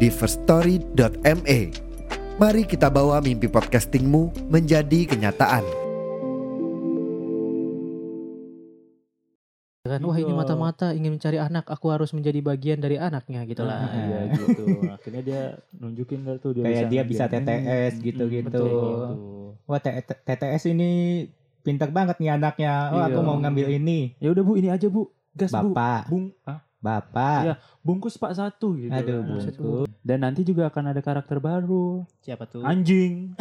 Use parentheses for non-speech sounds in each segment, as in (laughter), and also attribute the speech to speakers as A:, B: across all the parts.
A: di firststory.me. Mari kita bawa mimpi podcastingmu menjadi kenyataan.
B: kan wah ini
C: Iya.
B: mata-mata ingin mencari anak aku harus menjadi bagian dari anaknya gitu
C: Nah,
B: lah (laughs)
C: iya gitu. Akhirnya dia nunjukin lah tuh dia
D: Kayak dia bisa
C: ngerjain.
D: TTS
C: Mm,
D: gitu-gitu.
C: betul, gitu.
D: Wah T- T- TTS ini pintar banget nih anaknya. Oh
C: Iya.
D: aku mau ngambil ini.
C: Ya udah Bu, ini aja Bu. Gas Bu.
D: Bapak,
C: Bung, ah, Iya,
D: bapak.
C: bungkus Pak satu gitu. Nah,
D: Aduh,
B: Buset,
D: bungkus.
C: Dan nanti juga akan ada karakter baru.
B: siapa tuh (laughs)
C: Anjing.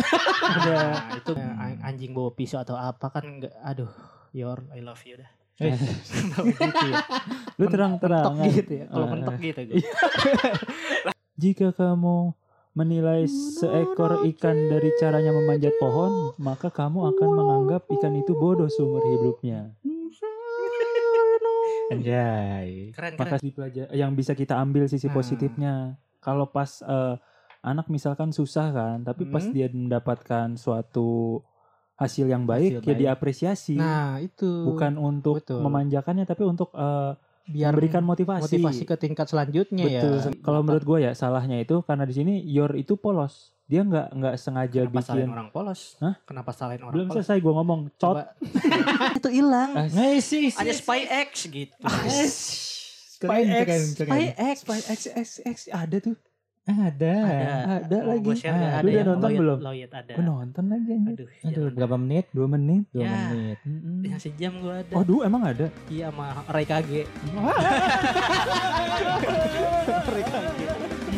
B: nah,
C: ada.
B: itu an- anjing bawa pisau atau apa kan nggak aduh your I love you dah
C: Eh,
B: (laughs) Kenapa gitu ya?
C: (laughs) lu
B: Mentok mentok
C: terang-terangan.
B: gitu ya kalau
C: Ah.
B: mentok gitu gue.
C: Jika kamu menilai seekor ikan dari caranya memanjat pohon, maka kamu akan menganggap ikan itu bodoh seumur hidupnya.
D: Anjay.
B: keren keren
C: Maka dipelajar- yang bisa kita ambil sisi
B: Nah.
C: positifnya. Kalau pas eh, anak misalkan susah kan, tapi pas
B: Hmm.
C: dia mendapatkan suatu hasil yang baik,
D: Hasil
C: ya
D: baik.
C: diapresiasi.
B: nah itu
C: Bukan untuk
B: betul.
C: memanjakannya, tapi untuk eh,
B: biar
C: memberikan motivasi.
B: motivasi ke tingkat selanjutnya ya
C: Betul. se- Kalau menurut gue ya salahnya itu karena di sini Yor itu polos. Dia nggak nggak sengaja
B: kenapa
C: bikin.
B: salahin orang polos
C: Hah?
B: kenapa salahin orang
C: Belum
B: polos
C: selesai gue ngomong. (laughs) Cot.
B: Coba- itu hilang
C: Ah,
D: Ngisi.
B: ada spy X gitu
C: (laughs)
D: Keren, keren, keren.
C: Eh,
D: Ah,
C: X, Spy X, X, X, ada tuh.
D: Ada.
C: Ada
B: Mau
C: lagi.
B: gua share nggak? ada
C: Ah, lu udah
B: yang
C: nonton
B: Lloyd-
C: belum?
B: Lloyd ada
C: Gue nonton lagi. anjir.
B: aduh
D: Aduh,
B: jangan.
D: berapa menit?
C: Dua menit.
D: Dua
B: Ya.
D: menit.
C: Mm-mm.
B: yang sejam gue ada
C: Oh, dulu emang ada.
B: iya sama Ray Kage
C: Di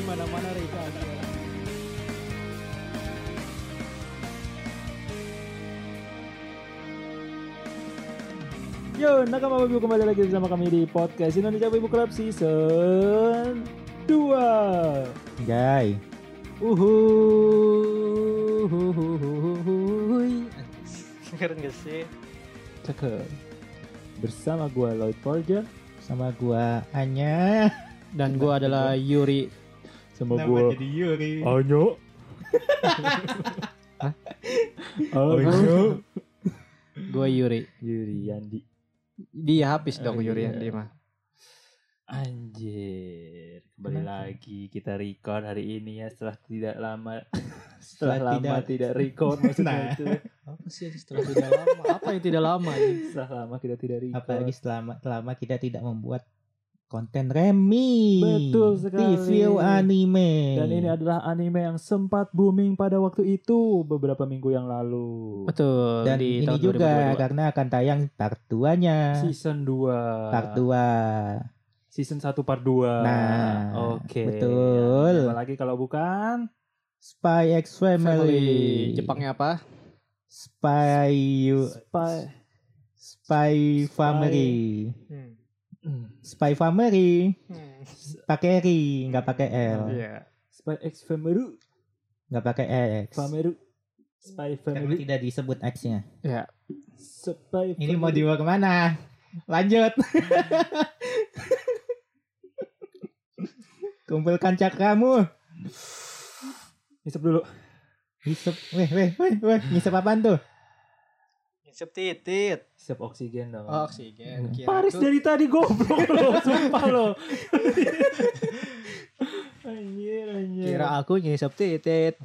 C: mana-mana Reka. Yo, nakama Babi Ibu kembali lagi bersama kami di podcast Indonesia Ibu Club Season 2.
D: Anjay.
C: Uhuh, Uhuhuhuhuhuhuhuhuhuy.
B: (laughs) keren gak sih
C: uhuh. Cakep. Bersama gua Lloyd Forger,
D: Sama gua Anya.
B: dan gue adalah Eh, Yuri
C: sama gua
D: jadi Yuri.
C: Anyo.
D: (laughs)
C: Anyo.
B: gue Yuri
C: Yuri Yandi.
B: dia habis dong
C: Oh,
B: Yuri
C: iya.
B: yang dia mah
C: Anjir, kembali
D: Kenapa?
C: lagi kita record hari ini ya setelah tidak
D: (laughs)
C: lama setelah, lama
D: tidak-
C: tidak record maksudnya
D: Nah.
C: itu.
B: apa sih yang setelah tidak lama apa yang tidak lama
C: Setelah lama kita tidak record.
D: Apalagi selama selama kita tidak membuat konten remi.
C: Betul sekali.
D: Review anime.
C: Dan ini adalah anime yang sempat booming pada waktu itu beberapa minggu yang lalu.
B: betul
D: Dan
B: di
D: ini
B: tahun
D: juga
B: 2022.
D: karena akan tayang part 2-nya.
C: Season 2.
D: Part 2.
C: Season 1 part 2.
D: Nah,
C: oke.
D: betul.
C: Apalagi kalau bukan
D: Spy X Family.
B: Family Jepangnya apa
D: Spy you-
C: Spy.
D: Spy Family.
B: Hmm.
D: Spy Family. Pakai Ri, nggak pakai L.
B: Iya.
C: Spy X Family.
D: Nggak pakai X.
C: Family. Spy
D: Karena
C: Family.
D: tidak disebut X-nya.
B: ya
C: Spy
D: Ini mau
C: Family.
D: dibawa kemana? Lanjut. (laughs) Kumpulkan cakramu.
C: Isep dulu.
D: Ngisep, weh, weh, weh, weh. Ngisep apaan tuh?
B: Isep titit
C: Isep oksigen dong.
D: Oh,
B: oksigen
D: iya.
B: kira
C: Paris
B: tuh-
C: dari tadi goblok lo, sumpah lo.
D: (laughs)
C: anjir, anjir.
B: kira aku ngisep titit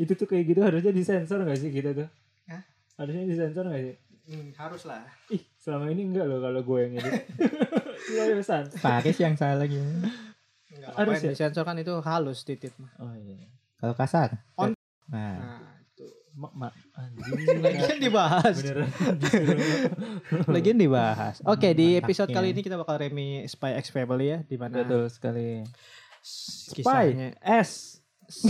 C: Itu tuh kayak gitu harusnya disensor gak sih kita tuh?
B: Hah?
C: Harusnya disensor gak sih?
B: Hmm, harus lah
C: Ih, selama ini enggak loh kalau gue yang ini.
B: (laughs)
C: Sorry pesan.
D: Paris yang salah gitu.
B: Enggak
C: Harus
B: apa-apa,
C: ya?
B: disensor kan itu halus titit mah.
C: Oh iya.
D: Kalau kasar.
B: On.
D: Nah,
B: Nah, itu.
C: Mak, mak. Anjir.
B: Lagian dibahas.
C: Beneran.
B: Lagian dibahas.
C: Hmm,
B: Oke, di
D: Mantap,
B: episode
D: ya.
B: kali ini kita bakal remi Spy X Family ya, di mana
C: Betul sekali.
B: kisahnya
C: Spy.
B: (laughs)
C: S.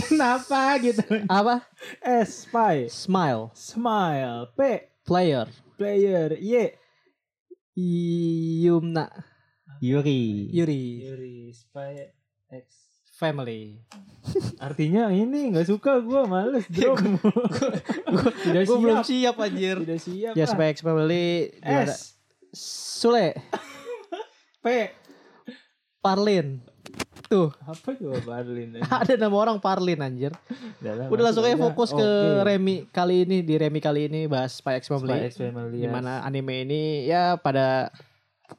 D: kenapa gitu?
B: apa?
C: S.
B: Eh,
C: Spy.
B: Smile
C: Smile. P.
B: player
C: Player. Y.
B: Yumna
D: Yuri.
B: Yuri
C: Yuri. Spy. X.
B: family.
C: Artinya ini nggak suka gue males
B: (laughs) Ya,
C: bro. Tidak
B: Gue belum
C: siap.
B: siap
C: (laughs)
B: anjir.
C: Tidak siap.
B: Ya
C: ah.
B: Specs Family juara.
C: S.
B: Sule,
C: (laughs) P.
B: Parlin. Tuh,
C: Apa coba Barlin?
B: ada nama orang Parlin anjir. (laughs) Udah langsung aja fokus ke Remi kali ini di Remi kali ini bahas Spy X Family.
C: Family. ya.
B: Di mana anime ini ya pada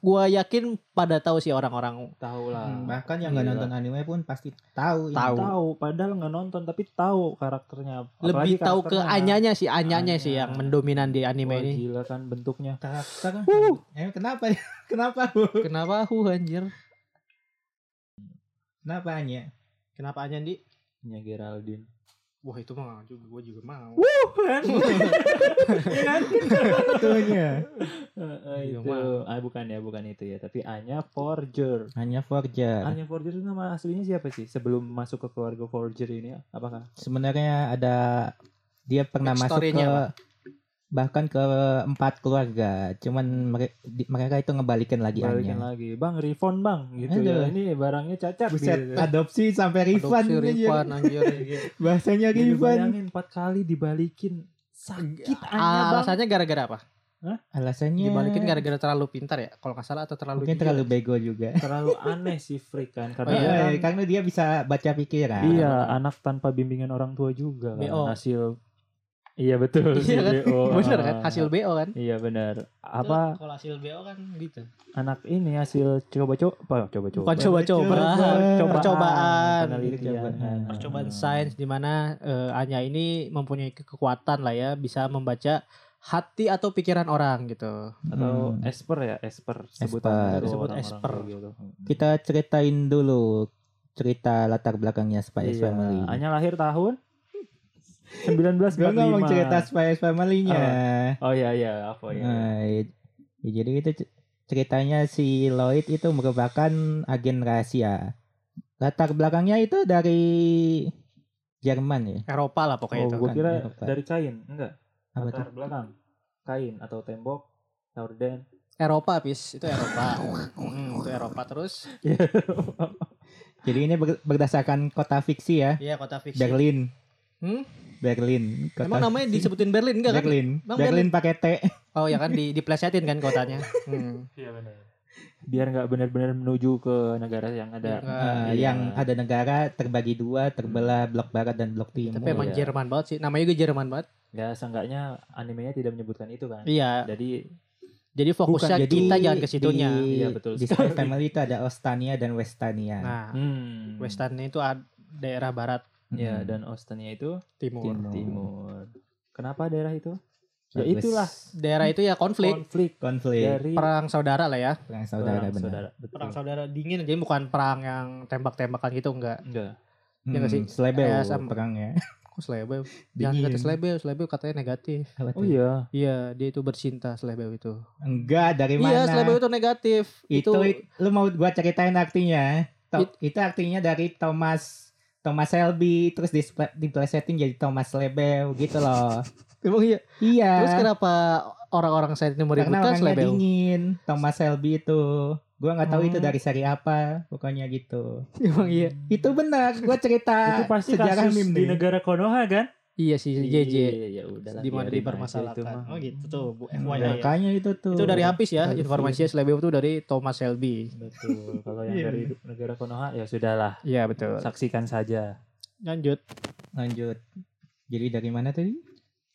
B: gua yakin pada tahu sih orang-orang
C: Tahu lah.
D: Hmm, bahkan yang nggak
C: Iya.
D: nonton anime pun pasti tahu. ini.
B: Tahu.
C: Tahu. Padahal nggak nonton tapi tahu karakternya.
B: lebih
C: Apalagi
B: tahu ke
C: karakternya.
B: anyanya sih, anyanya sih yang
C: Anya.
B: mendominan di anime
C: Wah,
B: ini.
C: Gila kan bentuknya.
D: Karakter.
B: Wuh.
D: Eh, kenapa? (laughs) kenapa?
B: Kenapa aku anjir?
D: Kenapa hanya?
B: Kenapa Anya di?
C: Nya Geraldine.
B: Wah itu mah juga gua juga mau.
C: Bukan.
D: Tentunya.
B: Iya,
C: itu. Ah bukan ya, bukan itu ya. Tapi Anya Forger.
D: Hanya Forger.
C: Anya Forger itu nama aslinya siapa sih? Sebelum masuk ke keluarga Forger ini, apakah?
D: Sebenarnya ada dia pernah masuk ke
B: Backstory-nya apa?
D: bahkan ke empat keluarga. Cuman mere- di- mereka itu
B: Iya,
D: ngebalikin lagi
C: Balikin
D: Anya.
C: lagi, bang refund bang, gitu
D: Aduh.
C: ya. Ini barangnya cacat
D: Ya, Buset,
C: gitu.
D: adopsi sampai refund.
B: Adopsi
D: anjir.
B: Rifan anjir.
D: Bahasanya
C: Jadi
D: refund.
C: bayangin empat kali dibalikin sakit
B: Iya,
C: Anya bang.
B: Ah, Alasannya gara-gara apa?
D: Alasannya
B: Dibalikin gara-gara terlalu pintar ya? Kalau nggak salah atau terlalu
D: mungkin
B: jujur?
D: terlalu bego juga.
C: Terlalu aneh sih Frick kan,
B: Oh,
C: karena
B: iya.
C: dia
D: Eh,
C: kan-
D: karena dia bisa baca pikiran.
C: Iya, anak tanpa bimbingan orang tua juga kan.
B: BO.
C: Hasil Iya betul.
B: Iya kan?
C: BO.
B: Bener kan?
C: Ah.
B: Hasil BO kan?
C: Iya benar. Apa
B: Kalau hasil BO kan gitu.
C: anak ini hasil coba-coba coba-coba.
B: Bukan coba-coba.
D: Percobaan.
B: Percobaan.
C: Penelitian.
D: Percobaan.
B: Percobaan sains di mana eh, Anya ini mempunyai ke- kekuatan lah ya bisa membaca hati atau pikiran orang gitu.
C: atau
D: Hmm.
C: esper ya esper
D: Esper.
C: sebutan
B: Disebut
C: disebut
B: esper.
C: gitu.
D: Kita ceritain dulu cerita latar belakangnya Spy X
C: Iya.
D: Family.
C: Hanya lahir tahun 1945.
D: Gue ngomong cerita Spy X Family-nya.
C: Oh iya iya apa ya?
D: Nah, i- ya jadi itu c- ceritanya si Lloyd itu merupakan agen rahasia. Latar belakangnya itu dari Jerman ya.
B: Eropa lah pokoknya
C: Oh,
B: itu.
C: gue
D: kan,
C: kira
D: bukan.
C: dari kain, enggak.
D: Apa tuh?
C: Latar belakang. Kain atau tembok,orden. (laughs)
B: Eropa pis itu Eropa. Hmm, itu Eropa terus.
D: Jadi ini ber- berdasarkan kota fiksi ya.
B: Iya kota fiksi.
D: Berlin.
B: Hmm?
D: Berlin. Kota
B: Emang namanya
D: fiksi.
B: disebutin Berlin enggak kan?
D: Berlin.
B: Bang,
D: Berlin pakai T.
B: Oh ya kan di diplesetin kan kotanya. Hmm.
D: (laughs)
C: Iya benar. Biar nggak benar-benar menuju ke negara yang ada.
B: Enggak.
D: Eh,
C: iya.
D: yang ada negara terbagi dua, terbelah blok barat dan blok timur.
B: Hmm. Tapi emang
C: Iya.
B: Jerman banget sih. Namanya juga Jerman banget.
C: Ya seenggaknya animenya tidak menyebutkan itu kan.
B: Iya.
C: Jadi
B: Jadi fokusnya
D: Bukan, jadi
B: kita jangan ke situnya.
D: Di,
C: Iya, betul
D: di
C: sekali.
D: Spy Family itu ada Ostania dan Westania.
B: Nah,
C: hmm,
B: Western itu ad- daerah barat
C: Ya
D: Mm.
C: dan Austennya itu
B: timur.
D: Timur.
C: timur. Kenapa daerah itu? Ya
D: West-
C: itulah
B: Daerah itu ya konflik,
C: konflik
D: konflik
C: dari
B: perang saudara lah ya.
D: perang saudara
C: perang
D: Iya. benar.
C: saudara. Betul.
B: Perang saudara dingin jadi bukan perang yang tembak-tembakan gitu enggak.
C: Enggak.
B: Iya nggak sih?
D: Hmm, Selebel ya.
B: Kayak sama-
D: perangnya.
B: Kok selebel? (laughs) Jangan kata selebel, selebel katanya negatif.
D: Apa tuh?
C: Oh iya.
B: Iya, dia itu bercinta selebel itu.
D: Enggak, dari mana?
B: Iya, selebel itu negatif.
D: itu, lu mau gua ceritain artinya. To-
B: It-
D: itu artinya dari Thomas Thomas Shelby terus dispe- diplesetin jadi Thomas Lebel gitu
B: (laughs)
D: loh.
B: Emang iya.
D: iya.
B: Terus kenapa orang-orang saya ini
D: karena
B: meributkan
D: orangnya
B: selebel?
D: dingin, Thomas Shelby itu. Gua nggak tahu
B: Oh.
D: itu dari seri apa, pokoknya gitu.
B: (laughs) Emang iya.
D: Itu benar, gua cerita
C: (laughs) Itu pasti
D: Ah, sejarah
C: kasus
D: meme
C: di
D: nih.
C: negara Konoha kan?
B: Iya sih JJ.
C: Iya, ya udahlah.
B: Di mana
C: biarin aja itu
B: dipermasalahkan.
C: mah.
D: iya.
B: Oh gitu tuh, Bu FYI. ya.
D: Makanya itu tuh.
B: Itu dari habis ya,
D: Dari
B: informasinya selebel itu dari Thomas Shelby.
C: Betul. Kalau yang
D: Iya,
C: dari negara Konoha ya sudahlah,
B: Iya, betul.
C: saksikan saja.
B: Lanjut.
D: Lanjut. Jadi dari mana tadi?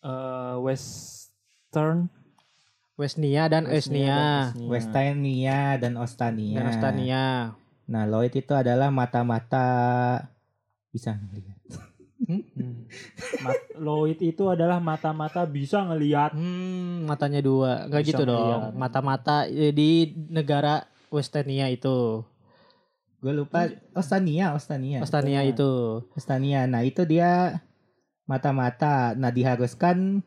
C: Eh, Western
B: Westnia dan Esnia.
C: dan Esnia.
D: Westania dan Ostania.
B: Iya. Dan Astania.
D: Nah, Lloyd itu adalah mata-mata bisa ngelihat.
C: Hmm. Mat- Lloyd itu adalah mata-mata bisa ngelihat.
B: Hmm, matanya dua. Enggak
C: Bisa
B: gitu dong.
C: ngeliat.
B: Mata-mata eh, di negara Westania itu.
D: Gue lupa
B: Iya.
D: Ostania,
C: Iya,
D: Ostania.
B: Astania
C: Westania.
B: itu.
D: Ostania. Nah, itu dia mata-mata. Nah, diharuskan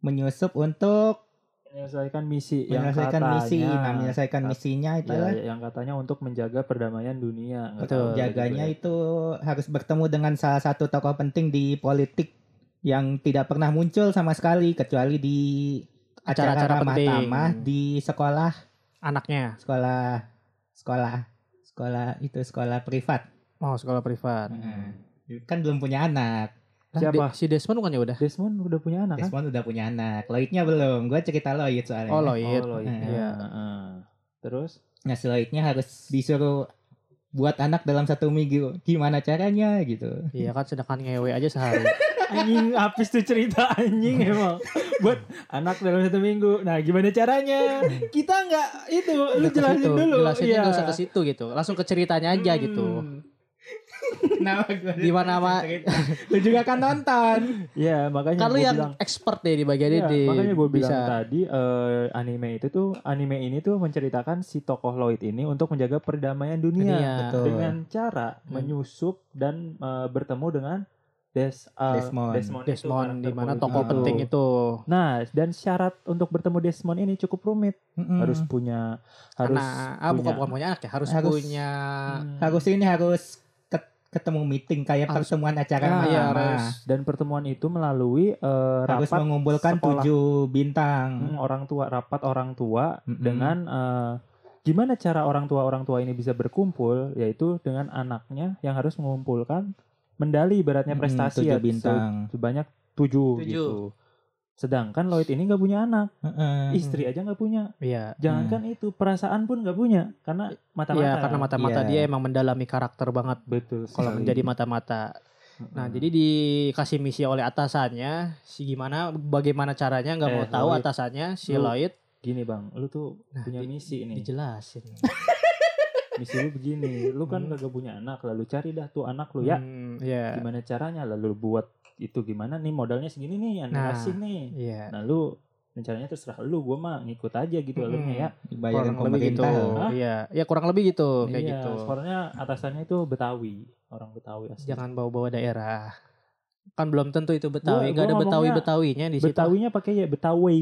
D: menyusup untuk
C: Menyelesaikan misi yang
D: menyelesaikan
C: katanya.
D: misi.
B: ya.
D: Nah, menyelesaikan
C: Kat-
D: misinya itu
C: Ya,
D: adalah
C: yang katanya untuk menjaga perdamaian dunia. Nggak
B: iya, Betul.
C: tahu juga
D: jaganya
C: juga.
D: itu harus bertemu dengan salah satu tokoh penting di politik yang tidak pernah muncul sama sekali kecuali di
B: Acara-acara
D: acara
B: penting.
D: tamah di sekolah
B: Anaknya.
D: sekolah sekolah sekolah itu sekolah privat
B: mau sekolah privat.
D: Heeh. Kan belum punya anak.
B: Lah,
C: Siapa?
B: De- si Desmond ya, bukannya udah?
C: Desmond udah punya anak kan?
D: Desmond udah punya anak. Lloydnya belum. Gue cerita Lloyd soalnya.
B: Oh Lloyd.
C: Oh, Lloyd.
B: Iya.
C: Heeh. Terus?
D: Nah, si Lloydnya harus disuruh buat anak dalam satu minggu. Gimana caranya
B: (laughs)
D: gitu.
B: Iya kan sedangkan ngewe aja sehari.
C: Anjing habis tuh cerita anjing emang Buat anak dalam satu minggu Nah gimana caranya Kita nggak itu (laughs) Lu
B: Nggak ke
C: jelasin
B: situ.
C: dulu
B: Jelasinnya
C: Iya.
B: nggak usah ke situ gitu. Langsung ke ceritanya aja gitu.
C: Hmm.
D: Kenapa gua
B: Gimana, Mak?
D: cerita? Lu juga kan nonton.
C: Iya makanya
B: Kalau
C: gua
B: yang
C: bilang-
B: expert deh di bagian
C: Iya,
B: ini.
C: makanya gue bilang
B: bisa.
C: tadi eh, anime itu tuh anime ini tuh menceritakan si tokoh Lloyd ini untuk menjaga perdamaian dunia,
B: Dunia.
D: Betul.
C: dengan cara
B: Hmm.
C: menyusup dan eh, bertemu dengan Des, eh,
D: Desmond.
C: itu,
B: Desmond
C: karakter
B: di mana
C: polisi
B: tokoh
C: itu.
B: penting itu.
C: Nah, dan syarat untuk bertemu Desmond ini cukup rumit.
D: Mm-mm.
C: Harus punya harus
B: Anak, Hmm. ah, bukan
C: punya-
B: bukan punya anak ya, harus,
D: Harus-
B: punya
C: Hmm.
D: harus ini harus ket- ketemu meeting kayak
B: Harus-
D: pertemuan acara
B: Ah, iya,
D: mahkamah.
B: harus
C: dan pertemuan itu melalui eh,
D: harus
C: rapat
D: mengumpulkan
C: sekolah.
D: tujuh bintang.
C: Hmm, orang tua rapat orang tua
D: Mm-mm.
C: dengan eh, gimana cara orang tua orang tua ini bisa berkumpul yaitu dengan anaknya yang harus mengumpulkan mendali ibaratnya
D: Mm-mm,
C: prestasi
D: Hmm,
C: ya
D: tujuh bintang.
C: se- sebanyak tujuh,
B: Tujuh.
C: gitu sedangkan Lloyd ini nggak punya anak
D: Heeh.
C: istri aja nggak punya
B: Iya.
C: jangankan
D: Hmm.
C: itu perasaan pun nggak punya karena mata-mata ya?
B: Iya, karena mata-mata
D: Iya.
B: dia emang mendalami karakter banget
C: betul
B: kalau
C: sekali. Hmm.
B: menjadi mata-mata.
C: Mm-mm.
B: Nah, jadi dikasih misi oleh atasannya, si gimana, bagaimana caranya nggak
C: Eh,
B: mau tahu
C: Lloyd.
B: atasannya, si
C: Lu-
B: Lloyd
C: gini bang lu tuh
B: Nah,
C: punya
B: di-
C: misi ini
B: dijelasin.
C: misi lu begini lu kan
B: Hmm.
C: nggak punya anak lalu cari dah tuh anak lu ya
B: Hmm, Iya.
C: gimana caranya lalu buat itu gimana nih modalnya segini nih
B: Nah.
C: animasi nih
B: Iya.
C: nah lu rencananya terserah lu gue mah ngikut aja gitu
B: Mm-mm.
C: alurnya ya
D: dibayarin
B: Kurang lebih gitu.
D: pemerintah.
C: Hah?
B: Iya, ya kurang lebih gitu kayak
C: Iya,
B: gitu.
C: soalnya atasannya itu Betawi orang Betawi asli
B: Jangan bawa-bawa daerah. Kan belum tentu itu Betawi, nggak
C: Gua- gua
B: ada
C: ngomongnya
B: Betawi-Betawinya di situ. Oh,
C: Betawinya pakai ya Betawi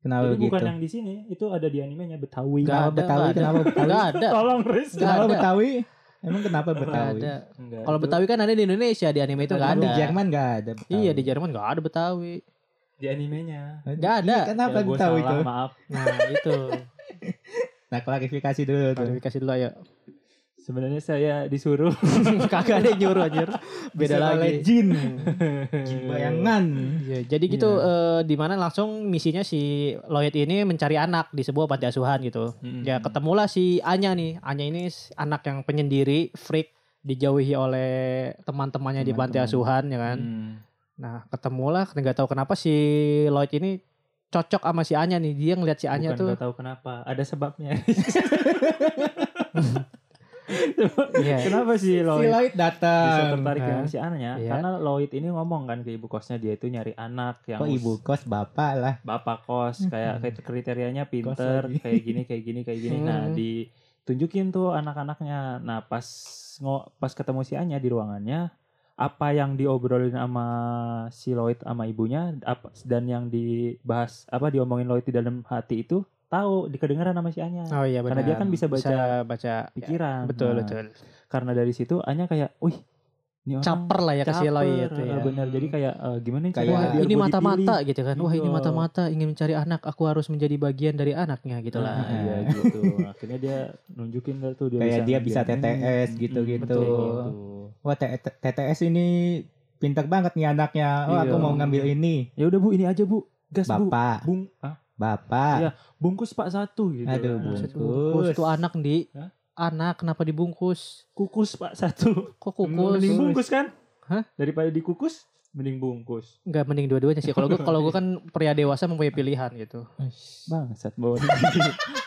D: Kenapa
C: jadi
D: gitu?
C: bukan yang di sini itu ada di animenya Betawi
B: Nggak
D: Kenapa
B: ada,
D: Betawi?
B: nggak ada.
D: Kenapa Betawi?
B: Nggak ada.
C: tolong Riz
B: Nggak
D: Kenapa
B: ada.
D: Betawi? Emang kenapa
B: Nggak
D: Betawi?
B: ada.
C: Enggak,
B: Kalau
C: itu
B: Betawi kan ada di Indonesia, di anime itu nggak
D: Emang
B: ada.
D: Di Jerman nggak ada. Betawi.
B: Iya, di Jerman nggak ada Betawi.
C: di animenya
B: Nggak ada.
C: Iya,
D: Kenapa
C: gua
D: Betawi
C: salah,
D: itu?
C: maaf
B: Nah, itu.
D: Nah klarifikasi dulu tuh.
B: Klarifikasi dulu ayo. (laughs)
C: sebenarnya saya disuruh
B: Kagak ada yang nyuruh anjir. Beda
D: Bisa
B: lagi.
D: oleh
C: (laughs)
D: Jin. Jin bayangan.
B: Iya, jadi gitu eh, di mana langsung misinya si Lloyd ini mencari anak di sebuah panti asuhan gitu. Ya
C: Hmm.
B: ketemulah si Anya nih. Anya ini s- anak yang penyendiri, freak, dijauhi oleh teman-temannya di panti
D: Teman-teman.
B: asuhan ya kan.
C: Hmm.
B: Nah, ketemulah nggak tahu kenapa si Lloyd ini cocok sama si Anya nih. Dia ngeliat si Anya
C: Bukan
B: tuh
C: nggak tahu kenapa, ada sebabnya.
B: Iya.
C: (laughs) Kenapa sih
D: Si
C: Lloyd
D: Lloyd
C: bisa
D: datang.
C: tertarik dengan
B: Hah?
C: si Anya?
B: Iya.
C: Karena Lloyd ini ngomong kan ke ibu kosnya dia itu nyari anak yang
D: Kok ibu kos bapak lah.
C: bapak kos kayak kayak kriterianya pinter
D: lagi.
C: kayak gini kayak gini kayak gini. Nah
B: Hmm.
C: ditunjukin tuh anak-anaknya. Nah pas ngo, pas ketemu si Anya di ruangannya apa yang diobrolin sama si Lloyd sama ibunya apa, dan yang dibahas apa diomongin Lloyd di dalam hati itu tahu dikedengaran sama si Anya.
B: Oh iya benar.
C: Karena dia kan bisa baca
B: baca ya,
C: pikiran.
B: betul
C: Nah,
B: betul.
C: Karena dari situ Anya kayak, "Wih, ini orang
B: Caper lah ya ke si
C: caper."
B: Lloyd
C: Eh,
B: ya.
C: Benar. Jadi kayak eh, gimana nih
D: Kayak,
C: caranya
B: Wah,
C: biar
B: ini
C: gua
B: mata-mata
C: dipilih?
B: gitu kan. Wah, ini
C: Iya.
B: mata-mata ingin mencari anak, aku harus menjadi bagian dari anaknya gitu lah.
C: Nah, iya gitu. Akhirnya dia nunjukin lah tuh dia
D: Kayak dia bisa
C: ngambil.
D: TTS
C: Mm,
D: gitu-gitu.
C: betul, gitu.
D: Wah T- T- TTS ini pintar banget nih anaknya. Oh
C: Iya.
D: aku mau ngambil ini.
C: Ya udah Bu, ini aja Bu. Gas Bu.
D: Bapak.
C: Bung, ah,
D: Bapak.
C: Iya. bungkus Pak satu gitu.
D: Aduh,
C: kan.
D: bungkus.
B: Bungkus tuh Oh, anak di
C: Hah?
B: anak kenapa dibungkus?
C: Kukus Pak satu.
B: Kok
C: Mending
B: kukus?
C: bungkus kan?
B: Hah?
C: Daripada dikukus, mending bungkus.
B: Enggak mending dua-duanya sih. Kalau gue kalau gue kan pria dewasa mempunyai pilihan gitu.
C: Bangsat (laughs) bawa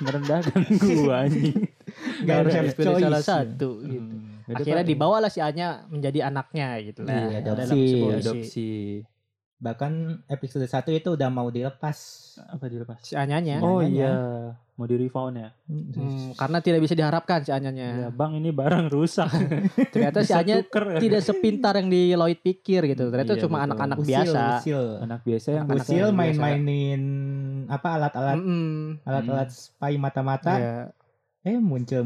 C: merendahkan gua anjing.
D: Gak
B: Harus
D: ada
B: harus pilih
D: choice. Hmm.
B: salah satu
C: Hmm.
B: gitu. Akhirnya dibawalah si Anya menjadi anaknya gitu.
D: Nah,
B: Iya,
D: adopsi,
B: dalam sebuah misi.
C: adopsi.
D: Bahkan episode 1 itu udah mau dilepas.
C: Apa dilepas?
B: Si Anyanya.
C: Oh
D: Nanya.
C: iya, mau di refund ya.
B: Hmm, karena tidak bisa diharapkan si
C: Ya,
B: Anyanya.
C: Bang ini barang rusak.
B: (laughs) Ternyata si
C: Bisa
B: Anya
C: tuker.
B: tidak sepintar yang di Lloyd pikir gitu. Ternyata
C: Iya,
B: cuma
C: betul.
B: anak-anak
D: Usil,
B: biasa.
D: Usil.
C: anak biasa yang
B: Anak-anak
D: Usil
B: biasa.
D: main-mainin apa
C: Kan?
D: alat-alat
B: Mm-mm.
D: alat-alat spy mata-mata.
B: Hmm. Iya.
D: Eh muncul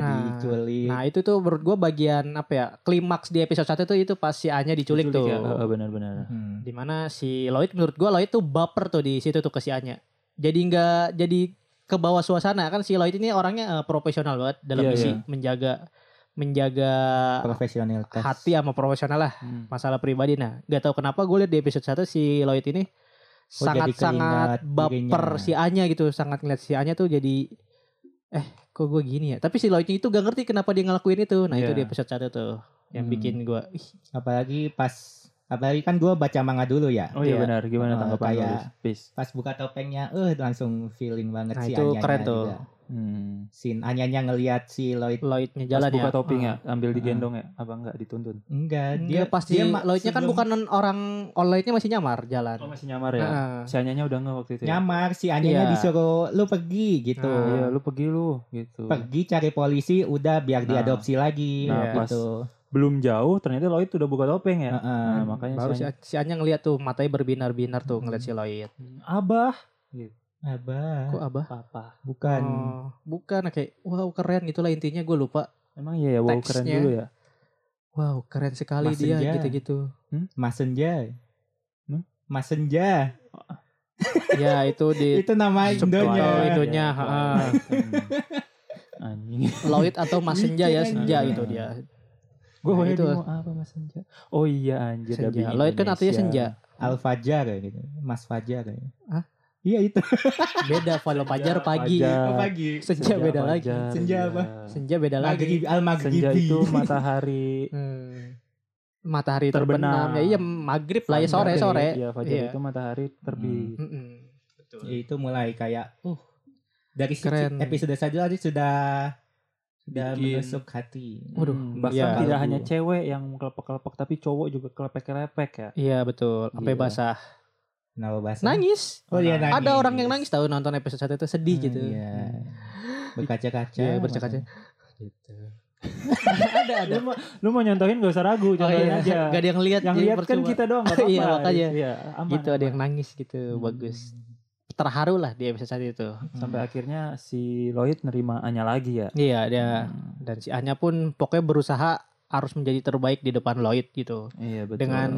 B: Nah,
C: Iya.
D: diculik.
B: Nah, itu tuh menurut gua bagian apa ya? Klimaks di episode 1 tuh itu pas si Anya diculik, tuh.
C: ya. Eh, eh, benar-benar.
D: Hmm.
B: Dimana si Lloyd menurut gua Lloyd tuh baper tuh di situ tuh ke si Anya. Jadi nggak jadi ke bawah suasana kan si Lloyd ini orangnya eh, profesional banget dalam
C: Iya,
B: misi
C: iya.
B: menjaga menjaga
D: profesionalitas.
B: hati sama profesional lah
C: Hmm.
B: masalah pribadi nah nggak tahu kenapa gue lihat di episode 1 si Lloyd ini
D: Oh,
B: sangat
D: jadi
B: sangat
D: keingat
B: baper
D: dirinya.
B: si Anya gitu sangat ngeliat si Anya tuh jadi eh kok gue gini ya tapi si Lloyd itu gak ngerti kenapa dia ngelakuin itu nah itu
C: Iya.
B: di episode 1 tuh yang
C: Hmm.
B: bikin gue ih,
D: Apalagi pas apalagi kan gue baca manga dulu ya.
C: Oh iya
B: Iya.
C: benar. Gimana
D: Oh,
C: tanggapan lu?
D: kayak-
C: Lis? Peace.
D: Pas buka topengnya, eh langsung feeling banget
B: Nah,
D: si
B: itu
D: Anyanya
B: keren tuh.
D: juga.
C: Hmm.
D: Sin Anyanya ngelihat si Lloyd
B: Lloydnya
C: Pas
B: jalan
C: buka
B: ya
C: toping ya,
B: Ah.
C: ambil
D: Ah.
C: digendong ya, apa enggak dituntun?
D: enggak,
B: dia, pasti
D: ma-
B: Lloydnya kan
D: sebelum
B: bukan orang online-nya masih nyamar jalan
C: Oh masih nyamar ya?
B: Nah,
C: Si Anyanya udah nggak waktu itu ya?
D: nyamar si Anyanya
B: Iya.
D: disuruh lu pergi gitu.
B: Nah.
C: Iya, lu pergi lu gitu.
D: Pergi cari polisi udah biar
C: Nah.
D: diadopsi lagi
C: Nah, pas-
D: gitu.
C: Belum jauh ternyata Lloyd udah buka topeng ya.
D: Heeh.
C: Nah, makanya
B: baru si,
C: si Anya-
B: si Anya ngeliat tuh matanya berbinar-binar tuh ngeliat si
C: Hmm. Iya.
B: Lloyd
C: Abah,
D: Abah,
B: kok abah
C: papa.
D: bukan
B: Oh, bukan kayak wow keren gitulah intinya gue lupa
C: Emang iya ya, wow keren
B: Teksnya.
C: dulu ya.
B: Wow, keren sekali
D: Mas
B: dia
D: Senja.
B: gitu-gitu.
D: Mas Senja.
C: Hmm?
D: Mas Senja.
B: ya, itu di
D: Itu nama
B: Subtitle
D: Indonya.
B: itu. itunya, heeh.
C: Hmm. Anjing.
B: Lloyd atau Mas Senja ya,
D: Iya,
B: Senja
D: iya.
B: gitu dia.
C: Gue
B: Nah,
C: nah,
B: itu.
C: mau apa Mas Senja? Oh iya anjir
B: Senja.
C: dubbing
B: Lloyd kan artinya senja.
C: Indonesia.
D: Al Fajar ya gitu. Mas Fajar ya.
B: Hah?
D: Iya itu.
B: Beda kalau Fajar pagi.
C: Fajar. Ah,
B: Eh,
D: Pagi.
B: Senja beda lagi.
C: Fajar,
D: Senja
C: iya.
D: apa?
B: Senja beda lagi.
D: Maghrib Al Maghribi.
C: Senja itu (laughs) matahari
B: Hmm. Matahari
C: Terbenam.
B: terbenam. Ya, iya, maghrib lah ya sore
C: Fajar.
B: sore.
C: Iya, Hmm. Fajar
B: Iya.
C: itu matahari terbit.
B: Mm-mm.
D: Ya, itu mulai kayak uh dari si-
B: Keren.
D: episode saja aja sudah sudah
C: Bikin-
D: menusuk hati.
B: Waduh, iya.
C: Hmm, bahkan tidak
D: Kalbu.
C: hanya cewek yang kelepek-kelepek tapi cowok juga kelepek-kelepek ya.
B: Iya betul, sampai
C: Gila.
B: basah.
D: Kenapa bahasa?
B: Nangis.
D: Oh iya nangis.
B: Ada orang yang nangis tahu nonton episode satu itu sedih
D: Hmm,
B: gitu.
D: Iya. Berkaca-kaca.
B: Iya, berkaca-kaca.
D: makanya. Gitu.
B: (laughs) ada ada.
C: Lu mau, lu mau nyontohin gak usah ragu,
B: Oh,
C: contohin
B: iya.
C: aja.
B: (laughs) Gak ada yang lihat.
C: yang
B: jadi
C: lihat kan
B: percuma.
C: kita doang gak apa-apa.
B: (laughs) Iya, makanya.
C: Iya, aman,
B: gitu ada
C: aman.
B: yang nangis gitu
C: Hmm.
B: bagus terharu lah di episode satu itu
C: sampai akhirnya si Lloyd nerima Anya lagi ya.
B: iya dia
C: Hmm,
B: dan si Anya pun pokoknya berusaha harus menjadi terbaik di depan Lloyd gitu
C: Iya betul.
B: dengan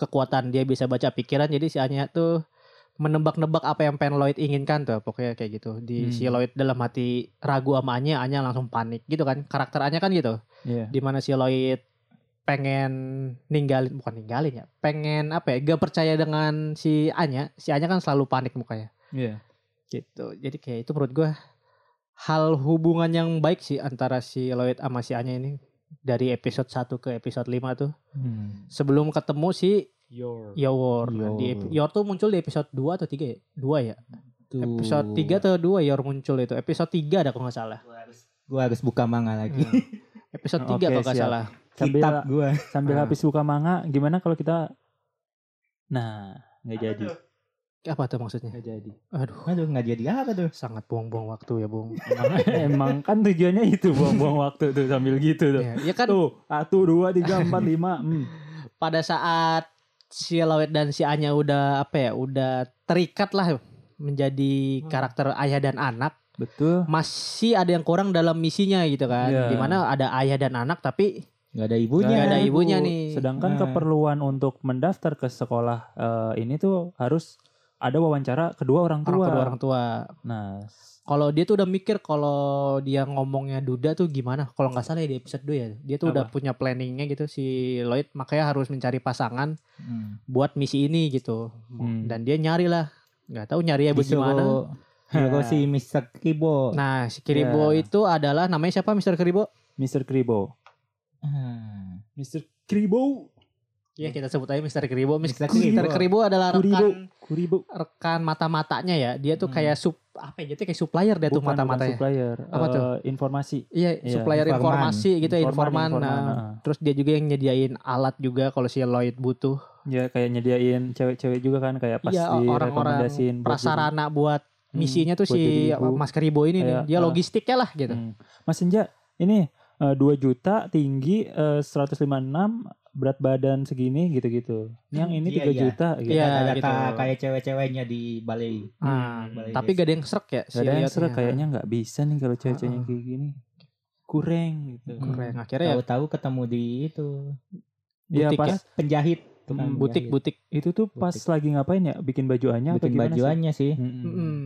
B: kekuatan dia bisa baca pikiran jadi si Anya tuh menebak-nebak apa yang pengen Lloyd inginkan tuh pokoknya kayak gitu di
C: Hmm.
B: si Lloyd dalam hati ragu sama Anya Anya langsung panik gitu kan karakter Anya kan gitu
C: Iya.
B: dimana si Lloyd pengen ninggalin bukan ninggalin ya pengen apa ya gak percaya dengan si Anya si Anya kan selalu panik mukanya
C: Iya.
B: gitu jadi kayak itu menurut gue hal hubungan yang baik sih antara si Lloyd sama si Anya ini dari episode 1 ke episode 5 tuh
C: Hmm.
B: sebelum ketemu si
C: Your.
B: Yor Nah, di ep- Yor tuh muncul di episode 2 atau 3 ya 2 ya
D: Tuh.
B: episode 3 atau 2 Yor muncul itu episode 3 ada kalau nggak salah
D: Gua harus, gua harus buka manga lagi.
B: Hmm. episode 3
C: Oke,
B: kalau nggak
C: siap.
B: salah
C: Sambil
D: (laughs) Kitab gua.
C: sambil
B: Ah.
C: habis buka manga, gimana kalau kita Nah, nggak jadi.
B: apa tuh maksudnya
C: Nggak jadi.
B: aduh
D: Aduh nggak jadi apa
B: (laughs)
D: tuh?
B: sangat buang-buang waktu ya Bung
C: Emang kan tujuannya itu buang-buang waktu tuh sambil gitu tuh.
B: ya, ya kan
C: Tuh, satu, dua, tiga, empat, lima. Hmm.
B: pada saat si Lloyd dan si Anya udah apa ya udah terikat lah
C: Hmm.
B: menjadi karakter ayah dan anak
C: Betul.
B: masih ada yang kurang dalam misinya gitu kan
C: Iya.
B: dimana ada ayah dan anak tapi
D: Gak ada ibunya.
B: Nggak ada
C: Nah,
B: ibu. ibunya
C: Bu.
B: nih.
C: Sedangkan
D: Nah.
C: keperluan untuk mendaftar ke sekolah eh, ini tuh harus ada wawancara kedua orang
B: orang
C: tua.
B: tua orang tua
C: Nah, s-
B: kalau dia tuh udah mikir kalau dia ngomongnya duda tuh gimana kalau nggak salah ya di episode 2 ya dia tuh udah punya planningnya gitu si Lloyd makanya harus mencari pasangan
D: Hmm.
B: buat misi ini gitu
C: Hmm.
B: dan dia nyari lah nggak tahu nyari ya bagaimana
D: Disuruh- disuruh si Mr. Kibo.
B: nah si Kiribo
C: Ya.
B: itu adalah namanya siapa Mr. Kiribo
C: Mr. Kribo.
D: Hmm.
C: Mr. Kribo.
B: Iya kita sebut aja Mr. Keribo. Mr. Keribo,
D: Mr. Keribo.
B: adalah
C: Kuribo.
B: rekan
C: Kuribo.
B: rekan mata-matanya ya. Dia tuh
C: Hmm.
B: kayak sup apa ya? Jadi kayak supplier dia tuh
C: Bukan, bukan
B: mata-matanya.
C: supplier.
B: Apa tuh?
C: Eh, informasi.
B: Iya,
C: Iya,
B: supplier
D: informan.
B: informasi gitu ya,
C: Informan,
B: informan.
C: informan,
B: Nah,
C: ah.
B: Terus dia juga yang nyediain alat juga kalau si Lloyd butuh.
C: Ya kayak nyediain cewek-cewek juga kan kayak pasti
B: Iya, orang-orang
C: rekomendasiin buat jadi-
B: prasarana buat Iya,
C: Hmm,
B: misinya tuh
C: buat
B: si
C: jadi ibu.
B: Mas Keribo ini
C: Kayak,
B: nih. Dia
C: ah.
B: logistiknya lah gitu.
C: Hmm. Mas Senja, ini eh, 2 juta tinggi eh, 156 berat badan segini gitu-gitu. Yang ini
D: Iya,
C: 3
D: iya.
C: juta gitu.
B: Iya,
D: Ada
B: gitu.
D: kayak cewek-ceweknya di Bali.
B: Ah,
D: Hmm, boleh
B: tapi
D: guys.
B: gak ada yang serak ya si
C: Gak ada yang
B: Lloydnya.
C: seru kayaknya nggak bisa nih kalau cewek-ceweknya
B: Heeh.
C: kayak gini. Kurang gitu.
D: Hmm.
B: Keren. Akhirnya ya
D: Tahu-tahu ketemu di itu
C: Iya
B: Butik
C: pas
D: penjahit.
C: Hmm,
D: penjahit.
B: butik-butik.
C: itu tuh pas
D: ya? Butik.
C: lagi ngapain ya? Bikin bajuannya apa
D: bikin
B: Hmm.
C: gimana sih?
D: bajuannya sih.
C: Mm-mm.
B: Mm-mm.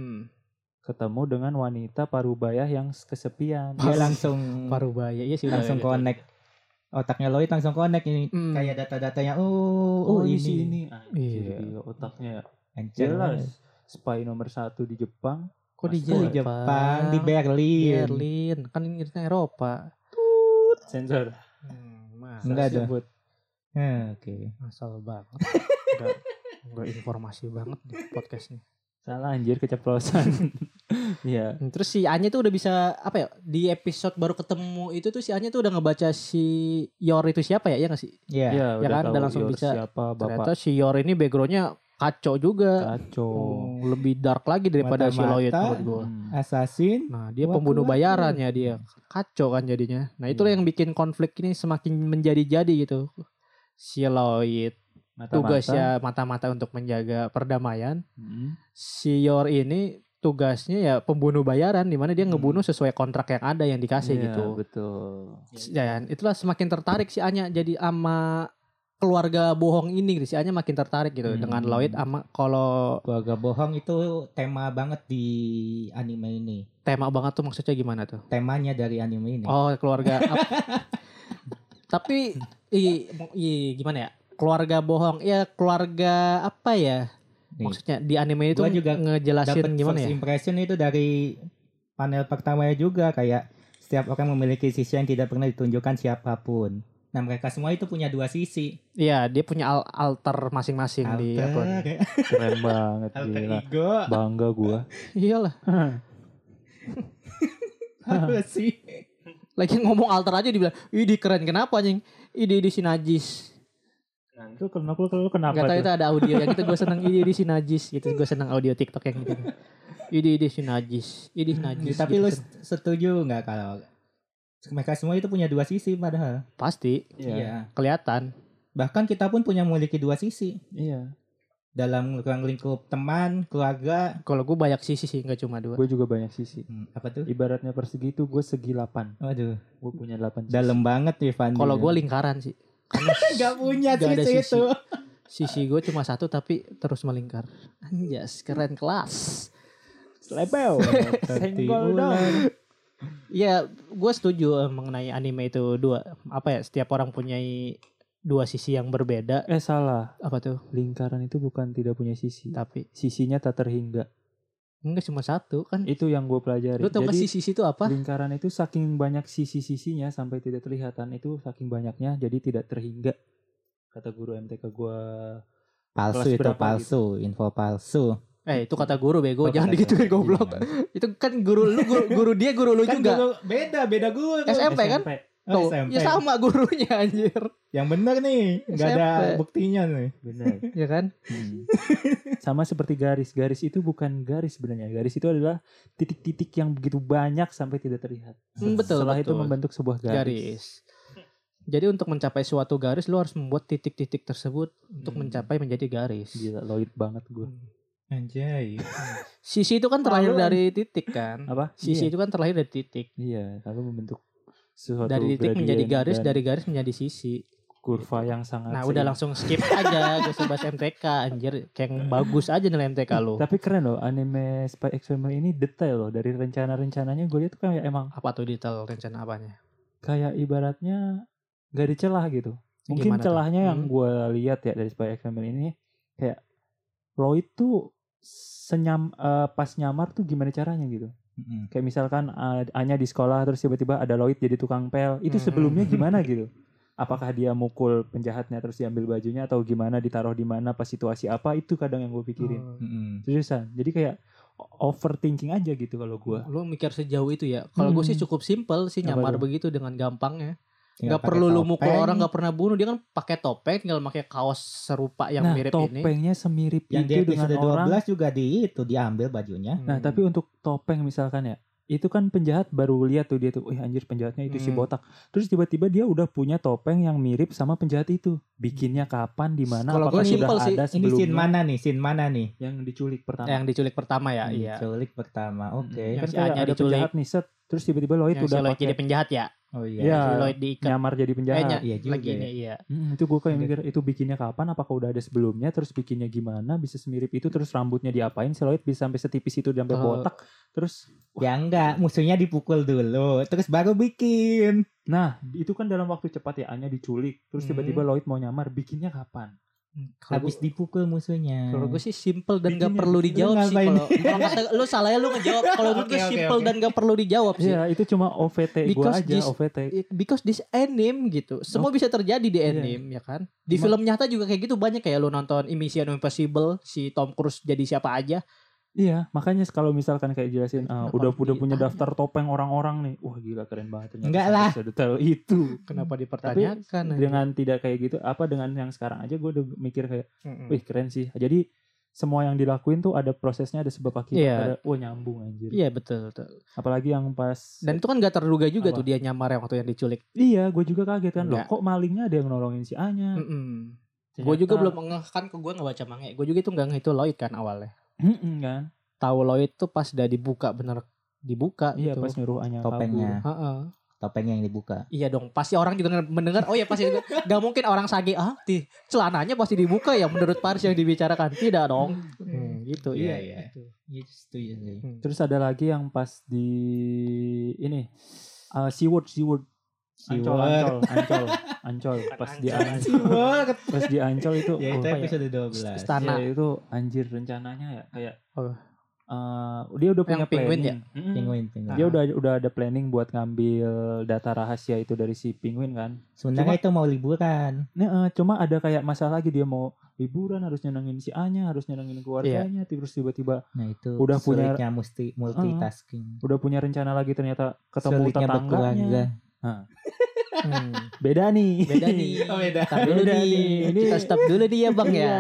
C: ketemu dengan wanita parubayah yang kesepian.
D: dia langsung
B: Parubaya. Iya sih udah
D: langsung
B: ya, gitu.
D: connect otaknya Lloyd langsung connect ini
B: Hmm.
D: kayak data-datanya oh, oh,
C: isi
D: ini,
C: Ah, anjir,
B: Iya.
C: gila, otaknya ya.
D: Anjir,
C: Jelas. Spy nomor satu di Jepang.
B: Kok di
C: Masuk
D: di Jepang
B: Di
D: di Berlin,
B: Berlin. Kan ini kita Eropa.
C: Sensor.
B: Hmm,
D: Enggak ada.
C: Sebut.
D: Hmm, oke
B: asal banget. Enggak, enggak informasi banget di podcast ini.
C: Salah anjir
B: (laughs)
C: keceplosan. Iya.
B: Hmm, Terus si Anya tuh udah bisa apa ya? Di episode baru ketemu itu tuh si Anya tuh udah ngebaca si Yor itu siapa ya? Iya gak sih?
D: ya
C: Iya,
B: ya kan, udah langsung
C: Yor
B: bisa.
C: siapa
B: Ternyata ya.
C: bapak
B: si Yor ini backgroundnya kacau juga.
C: kacau.
B: Hmm, lebih dark lagi daripada si
D: Mata-mata.
B: Lloyd menurut gua.
C: Hmm.
D: assassin
B: Nah, dia
D: Waduh,
B: pembunuh
D: waduh.
B: bayarannya dia. Kacau kan jadinya. Nah,
C: Hmm.
B: itulah yang bikin konflik ini semakin menjadi-jadi gitu. Si Lloyd
C: Mata-mata.
B: tugasnya mata-mata untuk menjaga perdamaian.
C: Hmm.
B: Si Yor ini tugasnya ya pembunuh bayaran di mana dia ngebunuh sesuai kontrak yang ada yang dikasih
C: Hmm. Iya,
B: gitu.
C: Betul.
D: Ya.
B: Dan Ya, itulah semakin tertarik si Anya jadi ama keluarga bohong ini si Anya makin tertarik gitu
C: Hmm.
B: dengan Lloyd ama kalau
D: keluarga bohong itu tema banget di anime ini
B: tema banget tuh maksudnya gimana tuh?
D: temanya dari anime ini
B: Oh
D: (laughs)
B: keluarga. Ap- Tapi i, i- gimana ya? Keluarga bohong ya keluarga apa ya?
D: Nih.
B: Maksudnya di anime itu
D: Gua juga
B: ngejelasin
D: Dapat
B: gimana
D: first
B: ya?
D: impression itu dari panel pertamanya juga kayak setiap orang memiliki sisi yang tidak pernah ditunjukkan siapapun. Nah mereka semua itu punya dua sisi.
B: Iya dia punya al- alter masing-masing di upload.
D: Alter,
C: Keren banget
D: (laughs) alter
C: gila.
D: ego.
C: Bangga gua.
B: Iyalah.
D: Apa sih?
B: Lagi ngomong alter aja dibilang, "Ih, di keren kenapa anjing? Ide di sinajis."
C: Lu kenapa lu kenapa
B: Gak tahu
C: tuh?
B: itu ada audio yang itu gue seneng ide di sinajis gitu. Gue seneng audio TikTok yang gitu. Ide ide sinajis, ide sinajis.
D: Hmm, Tapi
B: gitu.
D: lu setuju nggak kalau mereka semua itu punya dua sisi padahal.
B: pasti
C: Iya.
B: kelihatan.
D: Bahkan kita pun punya memiliki dua sisi
C: Iya.
D: dalam ruang lingkup teman, keluarga.
B: Kalau gue banyak sisi sih, nggak cuma dua.
C: Gue juga banyak sisi.
D: Hmm, apa tuh?
C: Ibaratnya persegi itu gue segi 8.
D: Waduh,
C: Gue punya 8 sisi.
D: dalam banget Ivan.
B: Kalau gue lingkaran
D: (laughs)
B: sih. Karena
D: ya. nggak punya
B: nggak ada
D: sisi itu.
B: Sisi gue cuma satu tapi terus melingkar. Anjas, keren kelas. (laughs)
C: Lebel. Senggol dong.
B: Iya, gue setuju eh, mengenai anime itu dua. Apa ya, setiap orang punya dua sisi yang berbeda.
C: Eh salah.
B: Apa tuh?
C: Lingkaran itu bukan tidak punya sisi.
B: Tapi
C: Sisinya tak terhingga.
B: enggak cuma satu
D: Iya,
B: kan.
C: Itu yang gue pelajari.
B: Lu tau gak
C: Jadi
B: sisi itu apa?
C: lingkaran itu saking banyak sisi-sisinya sampai tidak terlihatan itu saking banyaknya jadi tidak terhingga. Kata guru MTK gue.
D: palsu
C: Kelas
D: itu
B: gitu?
C: berapa
D: palsu info palsu
B: Eh, itu kata guru bego.
D: Gua
B: Jangan
D: pernah
B: digituin
D: dengar.
B: goblok.
D: Iya.
B: Itu kan guru lu, guru, guru dia, guru lu
D: kan
B: juga.
D: guru- beda beda guru tuh.
B: SMP kan?
D: Oh,
B: Tuh,
D: SMP.
B: Ya sama gurunya anjir.
D: yang benar nih nggak ada
B: SMP.
D: buktinya nih
B: (laughs)
C: Benar.
B: Ya kan?
C: Hmm. Sama seperti garis. Garis itu bukan garis sebenarnya. Garis itu adalah titik-titik yang begitu banyak sampai tidak terlihat.
B: Hmm, betul,
C: Setelah itu
B: betul.
C: membentuk sebuah garis.
B: garis. Jadi untuk mencapai suatu garis lu harus membuat titik-titik tersebut untuk
C: Hmm.
B: mencapai menjadi garis.
C: Gila, Lloyd banget gue.
D: anjay
B: Sisi itu kan terlahir
C: Lalu-
B: dari titik kan.
C: Apa?
B: Sisi
C: Iya.
B: itu kan terlahir dari titik.
C: Iya, lalu membentuk sesuatu
B: Dari titik
C: gradien
B: menjadi garis,
C: dan
B: dari garis menjadi sisi.
C: kurva yang sangat.
B: Nah,
C: seimbang.
B: udah langsung skip aja gue sebahas MTK anjir. Kayak yang bagus aja nilai MTK lu.
C: Tapi keren loh anime Spy X Family ini detail loh dari rencana-rencananya gue lihat tuh kayak emang
B: Apa tuh detail rencana apanya?
C: kayak ibaratnya gak ada celah gitu. Mungkin
B: Gimana tuh?
C: celahnya yang
B: Hmm.
C: gue lihat ya dari Spy X Family ini kayak Lloyd tuh senyam eh, pas nyamar tuh gimana caranya gitu.
B: Hmm.
D: Mm-mm.
C: Kayak misalkan eh, Anya di sekolah terus tiba-tiba ada Lloyd jadi tukang pel. Itu
B: Hmm.
C: sebelumnya gimana gitu? Apakah dia mukul penjahatnya terus diambil bajunya atau gimana ditaruh di mana pas situasi apa itu kadang yang gue pikirin.
B: Oh.
D: Mm-mm.
C: Seriusan. Jadi kayak overthinking aja gitu kalau gue.
B: Lu mikir sejauh itu ya. Kalau gue sih
C: Hmm.
B: cukup simpel sih
C: Apa
B: nyamar
C: tuh?
B: begitu dengan gampangnya. nggak
D: Tinggal
B: perlu
D: Ya, pakai
B: lu mukul
D: topeng.
B: orang nggak pernah bunuh dia kan pakai topeng tinggal pakai kaos serupa yang
C: nah,
B: mirip ini
C: topengnya semirip
D: yang di
C: itu dengan
D: episode 12
C: orang.
D: juga di itu diambil bajunya
C: Nah, tapi
B: Hmm.
C: untuk topeng misalkan ya, itu kan penjahat baru lihat tuh dia tuh, "Wih, anjir penjahatnya itu
B: Hmm.
C: si botak." Terus tiba-tiba dia udah punya topeng yang mirip sama penjahat itu. Bikinnya kapan, di mana,
B: Kalau gua
C: apakah sudah
B: simpel sih,
C: ada
D: ini
C: sebelumnya
D: scene mana nih scene mana nih
C: yang diculik pertama.
B: yang diculik pertama ya iya
D: Hmm,
B: Hmm, ya.
D: Diculik pertama oke
B: Yang
C: Kan
B: si
C: kayak
B: Anya
C: ada
B: diculik.
C: penjahat nih set, terus tiba-tiba Lloyd
B: yang si
C: udah
B: Lloyd
C: pakai
B: jadi penjahat ya
D: Oh
C: Iya.
D: iya.
B: si Lloyd diikat.
C: nyamar jadi penjahat.
B: Kayaknya
D: Iya juga
B: lagi
D: ya.
B: ini iya.
C: Hmm, itu gue kayak mikir itu bikinnya kapan? Apakah udah ada sebelumnya? Terus bikinnya gimana? Bisa semirip itu? Terus rambutnya diapain? Si Lloyd bisa sampai setipis itu sampai
B: Kalau-
C: botak? Terus,
D: Ya enggak, musuhnya dipukul dulu, terus baru bikin.
C: nah itu kan dalam waktu cepat ya Anya diculik. Terus
B: Hmm.
C: tiba-tiba Lloyd mau nyamar. Bikinnya kapan?
B: Kalau
D: Habis dipukul musuhnya.
B: Kalau gue sih simple dan gak
C: Bikinnya-
B: perlu dijawab sih
D: ngapain?
B: kalau kalau kata lu salahnya lu ngejawab. Kalau gue tuh
D: Oke, oke,
B: simple
D: oke.
B: dan gak perlu dijawab sih.
C: Iya, itu cuma OVT gue
B: ya, Because
C: aja
B: this-
C: OVT.
B: Iya, Because this anime gitu, semua bisa terjadi di
C: Iya.
B: anime ya kan. Di
C: Ma-
B: film nyata juga kayak gitu banyak kayak lu nonton Mission Impossible si Tom Cruise jadi siapa aja.
C: Iya, makanya kalau misalkan kayak jelasin ah,
B: Kenapa
C: udah
B: harus
C: udah punya
B: ditanya?
C: daftar topeng orang-orang nih. Wah, gila keren banget ternyata.
D: Enggak
C: sampai
D: lah.
C: Sedetail itu.
B: Kenapa
C: Hmm. Tapi
B: dipertanyakan? aja?
C: dengan tidak kayak gitu apa dengan yang sekarang aja gue udah mikir kayak
B: Mm-mm.
C: Wih keren sih. Jadi semua yang dilakuin tuh ada prosesnya, ada sebab akibat,
B: Iya.
C: ada wah nyambung anjir.
B: Iya betul, betul.
C: Apalagi yang pas
B: Dan itu kan gak terduga juga
C: Apa?
B: tuh dia nyamar yang waktu yang diculik.
C: iya, gue juga kaget kan loh.
B: Enggak.
C: Kok malingnya ada yang nolongin si Anya?
B: Mm-mm. Gue juga belum ngeh kan ke gue nggak baca manga. Gue juga itu nggak ngeh itu Lloyd kan awalnya.
C: Mm-mm, kan?
B: Tahu Lloyd tuh pas udah dibuka bener dibuka
C: Iya,
B: gitu.
C: pas nyuruh Anya kabur.
D: Topengnya.
B: Heeh.
D: Topeng yang dibuka.
B: Iya dong, pasti orang juga mendengar. Oh ya pasti nggak mungkin orang sage ah, di celananya pasti dibuka ya menurut Paris yang dibicarakan. Tidak dong. Hmm, gitu. iya.
D: Iya, iya.
B: gitu.
D: Iya, setuju sih.
B: Hmm.
C: Terus ada lagi yang pas di ini eh Seawood, Seawood. Ancol,
D: Siwot.
C: Ancol, Ancol, Ancol. Pas di
B: Ancol.
C: Ancol,
D: Siwot.
C: pas di Ancol itu,
D: Ya
C: oh,
D: itu
C: kayak-
D: episode
B: Star-
D: 12.
B: Istana.
C: Iya, itu anjir rencananya ya kayak
B: Apa?
C: eh, dia udah punya
B: Yang penguin
C: planning. Mm-mm.
D: Penguin, penguin.
C: Dia
B: Nah.
C: udah udah ada planning buat ngambil data rahasia itu dari si penguin kan.
D: Sebenarnya itu mau liburan.
C: Nah, eh, cuma ada kayak masalah lagi dia mau liburan harus nyenengin si Anya, harus nyenengin
B: Iya.
C: keluarganya, terus tiba-tiba
D: Nah itu
C: Udah punya-
D: sulitnya musti, multitasking.
C: udah punya rencana lagi ternyata ketemu
D: Sulitnya berkeluarga.
C: tetangganya.
B: Hmm.
C: Beda nih.
B: Beda
C: (laughs)
B: nih.
D: Oh, beda.
B: Stop dulu
C: Beda
B: nih.
C: nih. Ini-
B: Kita stop dulu nih ya bang ya.
C: Iya,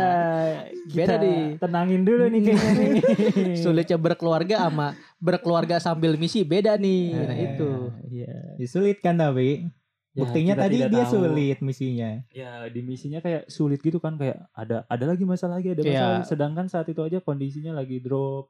B: Beda
C: kita
B: nih.
C: Tenangin dulu nih
B: (laughs)
C: kayaknya nih. (laughs)
B: Sulitnya berkeluarga sama berkeluarga sambil misi beda nih.
D: Iya.
B: Nah itu.
C: Iya.
D: Ya, sulit kan tapi
C: Ya,
D: buktinya
C: kita
D: tadi
C: tidak
D: dia
C: tahu.
D: sulit misinya.
C: ya di misinya kayak sulit gitu kan kayak ada ada lagi masalah lagi ada
B: Iya.
C: masalah lagi. sedangkan saat itu aja kondisinya lagi drop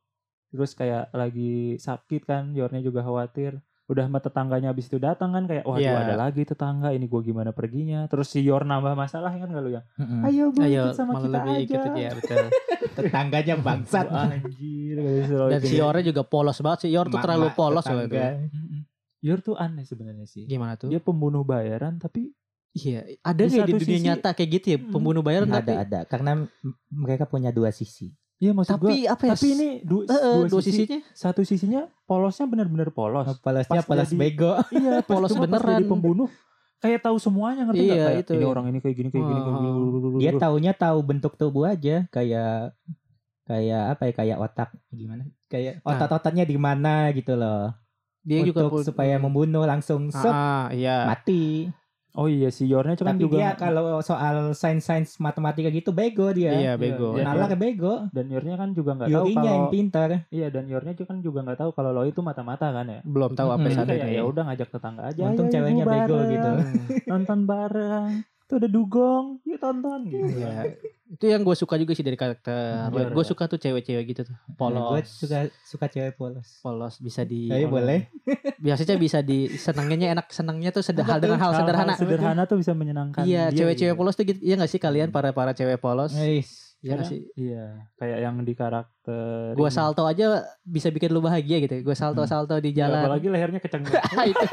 C: terus kayak lagi sakit kan Yornya juga khawatir udah sama tetangganya habis itu datang kan kayak waduh
B: Iya.
C: ada lagi tetangga ini gua gimana perginya terus si Yor nambah masalah kan kalau yang
D: Heeh.
C: ayo bu
B: Ayo
C: ikut sama
B: malah
C: kita
B: lebih
C: aja
B: ikut dia betul.
D: Tetangganya bangsat.
C: Wah, (laughs) anjir gitu kata si Lloyd
B: Dan si
C: ini.
B: Yornya juga polos banget sih. Yor tuh
D: Mak-mak
B: terlalu polos loh itu.
D: tetangga.
C: Mm-mm. Yor tuh aneh sebenarnya sih
B: Gimana tuh?
C: dia pembunuh bayaran tapi
B: Iya, ada
C: Di
B: nggak di
C: satu
B: dunia
C: sisi-
B: nyata kayak gitu ya
C: Hmm.
B: pembunuh bayaran
D: ada
B: tapi
D: ada karena m- mereka punya dua sisi.
C: ya maksud
B: tapi
C: gua
B: apa ya?
C: tapi ini du-
B: eh, eh,
C: dua,
B: dua
C: sisi,
B: sisinya
C: satu sisinya polosnya benar-benar polos
D: Polosnya
C: Pas
D: polos
C: jadi-
D: bego.
C: Iya, pas
B: Polos
C: cuma pas
B: beneran.
C: jadi pembunuh kayak tahu semuanya ngerti nggak?
B: Iya,
C: Kayak,
B: itu.
C: Ini orang ini kayak gini kayak gini kayak gini.
B: Ah.
C: blablabla.
D: Dia taunya tahu bentuk tubuh aja kayak kayak apa ya kayak otak gimana? Kayak
B: Nah.
D: otot-ototnya di mana gitu loh.
B: dia juga
D: Untuk
B: pun-
D: supaya membunuh langsung
B: Ah,
D: sep,
B: ah, iya.
D: mati.
C: Oh iya si Yornya cuman
D: Tapi
C: juga
D: dia kalau soal sains-sains matematika gitu bego dia.
B: Iya, bego.
C: Iya,
D: Nalar bego.
C: dan Yornya kan juga nggak tahu
D: Yurinya
C: kalau
D: yang pintar.
C: iya dan Yornya juga kan juga nggak tahu kalau lo itu mata-mata kan ya.
B: Belum tahu apa
D: Hmm.
C: Jadi
B: yang
C: kayak
B: ya.
C: ya udah ngajak tetangga aja.
D: Untung
C: "Ayo,
D: ceweknya
C: ibu
D: bego
C: bareng,
D: gitu.
C: (laughs) Nonton bareng. Tuh ada dugong, yuk tonton gitu.
B: Iya. Itu yang gue suka juga sih dari karakter.
C: Yor,
B: gue
C: ya.
B: suka tuh cewek-cewek gitu
C: Nah,
B: tuh. Polos.
D: Gue Nah, suka suka cewek polos.
B: polos bisa di
D: Tapi boleh.
B: (laughs) biasanya bisa di senangnya enak senangnya tuh sederhana dengan hal
C: Hal-hal
B: sederhana
C: sederhana tuh bisa menyenangkan.
B: iya
C: dia,
B: cewek-cewek
C: gitu.
B: polos tuh gitu iya gak sih kalian para para cewek polos
D: Eish.
B: iya gak
C: kadang-
B: sih
C: Hmm. Iya, kayak yang di karakter.
B: gue
C: ini.
B: salto aja bisa bikin lu bahagia gitu gue salto
C: Hmm.
B: salto di
C: Iya,
B: jalan
C: Apalagi lehernya kecengeng.
B: (laughs) itu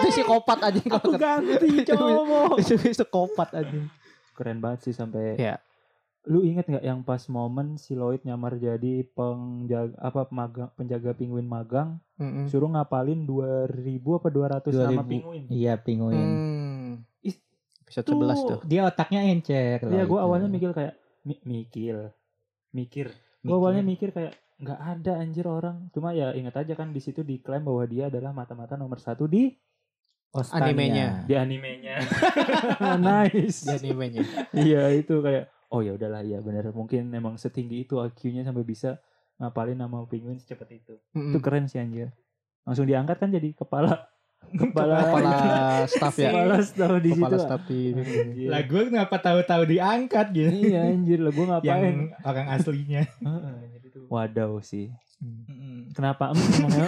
B: itu psikopat aja
C: Aku
B: kalau kata-
C: ganti cowok.
B: (laughs) itu psikopat aja
C: keren banget sih sampai
B: Iya.
C: lu inget nggak yang pas momen si Lloyd nyamar jadi penjaga apa magang penjaga penguin magang
B: Mm-mm.
C: suruh ngapalin 2000 apa 200 nama
D: 2000.
C: penguin
D: Iya pinguin.
B: Hmm.
C: Itu-
B: Episode 11 tuh.
D: Dia otaknya encer.
C: iya gue awalnya mikir kayak mi- mikir mikir gue awalnya mikir kayak nggak ada anjir orang cuma ya inget aja kan di situ diklaim bahwa dia adalah mata-mata nomor satu di
B: Animenya.
C: di animenya (laughs) nice
B: Dia animenya.
C: iya itu kayak oh ya udahlah ya bener mungkin emang setinggi itu IQ-nya sampai bisa ngapalin nama penguin secepat itu
B: Mm-mm.
C: itu keren sih anjir langsung diangkat kan jadi kepala kepala
B: (laughs)
C: (laughs)
B: Kepala staff ya.
C: kepala staff di
B: Kepala
C: situ
B: staff Iya, di
C: Anjir.
D: Lah gue kenapa tahu-tahu diangkat gitu.
C: iya anjir lah gue ngapain
D: Yang orang aslinya.
C: Heeh, anjir itu. wadaw sih kenapa "Hmm, hmm,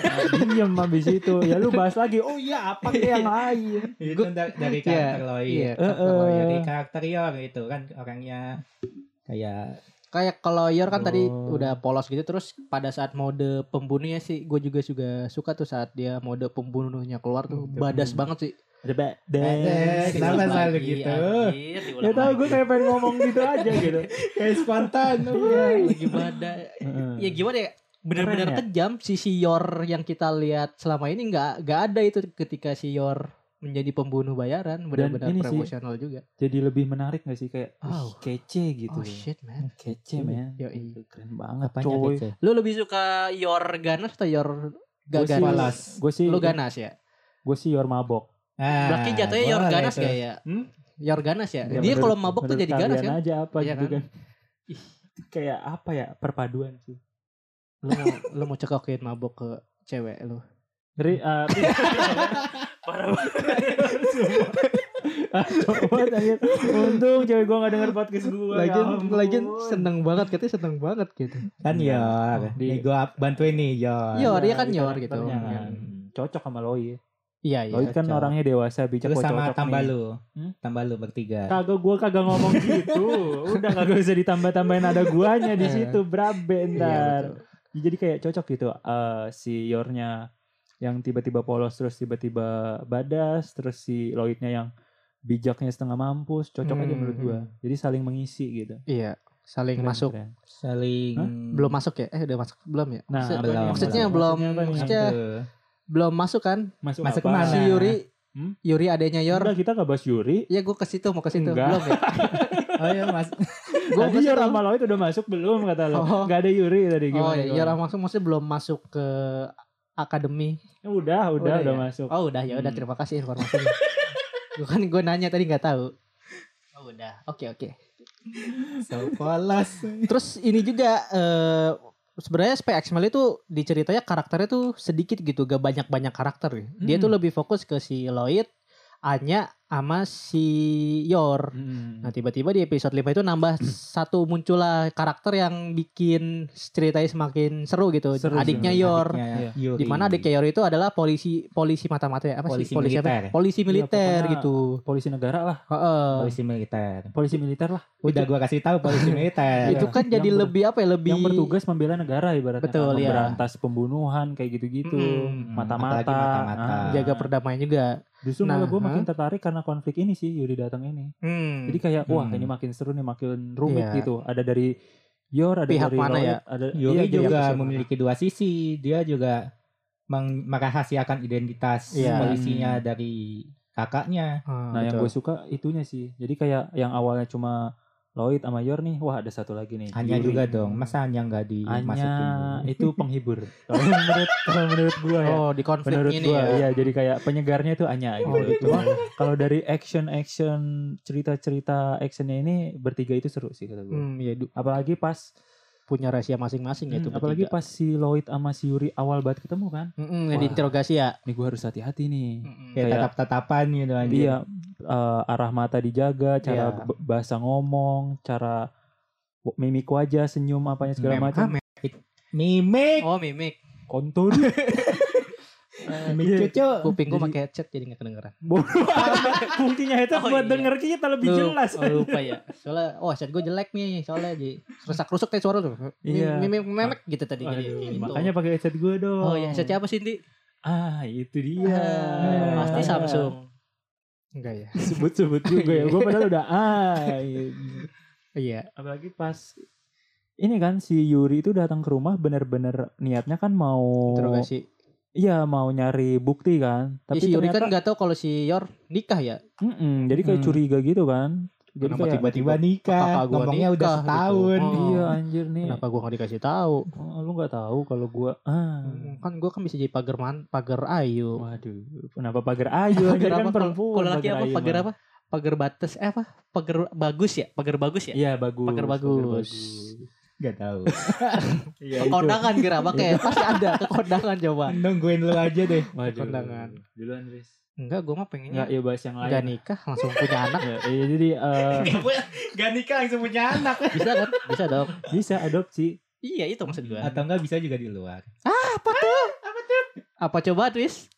C: diem habis itu ya lu bahas lagi oh iya apa ke yang lain
D: (laughs) itu da- dari karakter Lloyd.
B: iya.
D: Karakter
C: Eh, eh.
D: Lloyd, dari karakter Yor itu kan orangnya kayak
B: Kayak kalau Yor kan tadi
C: Oh.
B: udah polos gitu terus pada saat mode pembunuhnya sih gue juga juga suka tuh saat dia mode pembunuhnya keluar tuh
C: Hmm,
B: badas
C: hmm.
B: banget sih.
C: ada ba-
D: Eh,
C: des
D: kenapa
B: Diulang
D: selalu
B: lagi,
D: gitu?
B: anjir, diulang
C: Gak tau
B: lagi.
C: gue kayak pengen ngomong gitu aja
B: (laughs)
C: gitu
D: kayak spontan. (laughs)
B: Iya, lagi badas.
C: Heeh.
B: ya gimana ya? Benar-benar
C: Hmm. Keren ya?
B: kejam sisi Yor yang kita lihat selama ini nggak nggak ada itu ketika si Yor menjadi pembunuh bayaran benar-benar
C: ini sih-
B: profesional juga.
C: jadi lebih menarik gak sih kayak wih,
B: Wow.
C: kece gitu
B: Oh shit man.
C: kece men
B: Yoi.
C: keren banget
D: Apanya
C: coy
D: gitu?
B: Lu lebih suka Yor ganas atau Yor
C: Gua
B: gak
C: sih-
B: ganas?
C: gue sih
B: Lu ganas ya?
C: gue sih yor mabok
D: Ah, gitu.
B: Berarti jatuhnya Yor
D: boleh
B: ganas
D: tuh.
B: gak ya?
C: Nah, Hmm?
B: Yor ganas ya?
C: Ya,
B: Dia
C: menurut-
B: kalau mabok tuh
C: menurut
B: jadi ganas
C: kalian
B: kan?
C: aja apa
B: Iya
C: gitu
B: kan?
C: kan kayak apa ya perpaduan sih
B: Lu mau, lu mau cekokin mabok ke cewek lu.
C: Ngeri, eh, parah (laughs) Ah, coba tanya. Untung cewek gue gak denger podcast ya gue.
B: seneng banget katanya seneng banget gitu.
D: Ya Kan Yor.
C: Di-
D: Nih gua bantuin nih Yor.
B: Yor,
C: Iya,
B: dia kan
C: di
B: Yor gitu.
C: karakternya
B: Iya,
C: kan. Cocok sama Loi.
B: Iya, iya.
C: Loi kan
D: cocok.
C: orangnya dewasa, bijak,
D: Terus
C: wah,
D: sama
C: cocok
D: tambah
C: nih.
D: lu.
C: Hmm?
D: Tambah lu bertiga.
C: Kagak gue kagak ngomong gitu. Udah kagak bisa ditambah-tambahin ada guanya di
B: Eh.
C: situ, brabe ntar.
B: betul.
C: jadi kayak cocok gitu eh, si Yornya yang tiba-tiba polos terus tiba-tiba badas terus si Lloydnya yang bijaknya setengah mampus cocok aja menurut gua jadi saling mengisi gitu
B: Iya, saling
C: Keren,
B: Hmm, masuk.
C: keren.
D: Saling
C: Hah?
B: Belum masuk ya? Eh, udah masuk belum ya?
C: nah
B: Maksud-
C: apanya?
B: maksudnya belum- maksudnya
D: Ya.
B: belum masuk kan?
C: masuk,
D: masuk
C: apa?
D: kemana?
B: Si Yuri,
C: Hmm?
B: Yuri adanya Yor.
C: Enggak, kita gak bahas Yuri
B: Ya gue ke situ mau ke situ
C: Enggak.
B: belum
C: (laughs)
B: ya.
D: Oh iya mas.
B: Gua
C: tadi
B: ke
C: Yor
B: situ.
C: sama Lloyd udah masuk belum kata lo
B: Oh.
C: Gak ada Yuri tadi
B: Oh
C: gimana
B: iya, Yor
C: gimana?
B: langsung maksudnya belum masuk ke akademi.
C: udah udah udah,
B: Udah ya?
C: masuk
B: Oh udah ya udah
C: Hmm.
B: terima kasih
C: (laughs)
B: informasinya. gue kan gue nanya tadi nggak tahu. Oh udah. Oke oke.
D: So polos.
B: Terus ini juga eh sebenarnya SPXML itu diceritanya karakternya tuh sedikit gitu, gak banyak-banyak karakter. ya. Dia
C: Hmm.
B: tuh lebih fokus ke si Lloyd, Anya, sama si Yor.
C: Hmm.
B: Nah tiba-tiba di episode 5 itu nambah satu muncullah karakter yang bikin ceritanya semakin seru gitu.
C: Seru,
B: adiknya
C: seru.
B: Yor.
D: Adiknya ya. Yuri.
B: Iya. Di mana adiknya Yor itu adalah polisi polisi mata-mata ya? Apa sih?
D: Polisi
B: Polisi
D: militer.
B: apa? Polisi militer
C: Iya, pokoknya-
B: gitu.
C: polisi negara lah
B: Heeh.
D: polisi militer.
C: polisi militer lah
D: Udah gua kasih tahu polisi militer.
B: Itu kan
C: Yang
B: jadi
C: ber-
B: lebih apa ya? Lebih
C: yang bertugas membela negara ibaratnya
B: Betul,
C: kan,
B: iya.
C: memberantas pembunuhan kayak gitu-gitu
B: Mm-mm.
C: mata-mata
D: Apalagi mata-mata.
C: Ah.
B: Hmm, jaga perdamaian juga.
C: justru
B: Nah,
C: malah gue
B: huh?
C: makin tertarik karena konflik ini sih Yuri datang ini
B: Hmm.
C: jadi kayak wah
D: Hmm.
C: ini makin seru nih makin rumit
B: Iya.
C: gitu ada dari Yor ada
B: Pihak
C: dari
B: mana ya?
C: Lloyd, ada
D: Yuri
C: iya, dia
D: juga
C: pihak mana.
D: memiliki dua sisi. Dia juga meng- merahasiakan identitas
B: Iya.
D: polisinya
C: Hmm.
D: dari kakaknya.
B: Ah,
C: nah yang
B: betul.
C: gue suka itunya sih jadi kayak yang awalnya cuma Lloyd sama Yor nih wah ada satu lagi nih
D: Hanya
C: Yuri.
D: juga dong. Masa Hanya nggak
C: Anya
D: dimasukin? dulu?
C: itu penghibur kalau menurut kalau menurut gue ya
B: Oh di konflik
C: menurut
B: ini
C: gua
B: ya.
C: iya jadi kayak penyegarnya tuh Anya gitu.
B: Oh, gitu.
C: Cuma kalau dari action action cerita cerita actionnya ini bertiga itu seru sih kata gue.
B: Hmm, ya du-
C: Apalagi pas
B: punya rahasia masing-masing ya itu.
C: hmm, apalagi pas si Lloyd sama si Yuri awal banget ketemu kan.
B: Mm-mm, yang
C: Wah.
B: diinterogasi ya.
C: Nih gue harus hati-hati nih.
B: Hmm.
D: Kayak
C: kayak-
D: tatap-tatapan gitu aja.
C: Iya eh, arah mata dijaga, cara
D: Iya.
C: b- bahasa ngomong, cara w- mimik wajah, senyum apanya segala
D: Mem-
C: macam.
D: Mimik.
B: Oh mimik. (laughs)
C: Kontol.
D: Mimik
C: iya.
D: cucu.
B: Kuping gua
C: Jadi-
B: pakai headset Eh, jadi nggak kedengeran.
C: Fungsinya itu
B: Oh,
C: buat
B: iya.
C: denger kita lebih
B: Lu-
C: jelas.
B: Oh, lupa ya. Soalnya oh headset gua jelek nih soalnya jadi rusak-rusuk tadi suara tuh.
C: Iya.
B: Mim- Mimik memek gitu tadi jadi
C: Aduh,
B: kayak gitu.
C: Makanya pakai headset gue dong.
B: Oh ya headsetnya apa sih Ndi?
C: Ah, itu dia.
B: Ah, Pasti
C: Iya.
B: Samsung. Enggak ya.
C: Sebut-sebut juga ya. Gue padahal udah ah.
B: Iya.
C: Apalagi pas ini kan si Yuri itu datang ke rumah bener-bener niatnya kan
B: Oh,
C: mau
B: Interogasi.
C: Iya, mau nyari bukti kan.
B: Tapi
C: Tapi
B: si Yuri kan
C: ternyata
B: nggak tahu kalau si Yor nikah ya.
C: Mm-mm, jadi kayak
D: Hmm.
C: curiga gitu kan. Jadi
B: Kenapa
C: kayak
D: Tiba-tiba nikah.
B: Kakak gua
D: Ngomongnya
B: nikah
D: udah
B: gitu.
D: setahun.
B: Oh.
C: Iya anjir nih.
B: Kenapa gua nggak dikasih tahu?
C: Oh, lu nggak tahu kalau gua ah.
B: Kan gua kan bisa jadi pagar man, pagar ayu.
C: Waduh, kenapa pagar ayu? Dia kan
B: apa? Kalau-
C: perempuan.
B: Kalau laki apa?
C: ayu kan.
B: Pagar
C: mah.
B: apa? Pagar batas eh apa? Pagar bagus ya? Pagar bagus ya?
C: Iya, bagus.
B: Pagar bagus.
D: Gak tahu.
C: Iya, itu. Iya.
B: Kekondangan gerabaknya ya. Pasti ada kekondangan coba.
D: Nungguin lu aja
B: (laughs)
D: deh.
C: Waduh.
B: Kondangan.
C: Duluan, Riz.
B: Enggak, gua mah
C: Enggak,
B: pengennya
C: ya bahas yang lain.
B: enggak nikah langsung punya anak.
C: Ya, iya, jadi
B: (laughs)
C: eh,
D: Gak nikah langsung punya anak.
B: Bisa kan? Bisa dong.
C: bisa adopsi.
B: Iya, itu maksud gua.
D: (laughs) Atau enggak bisa juga di luar.
B: Apa coba Tris?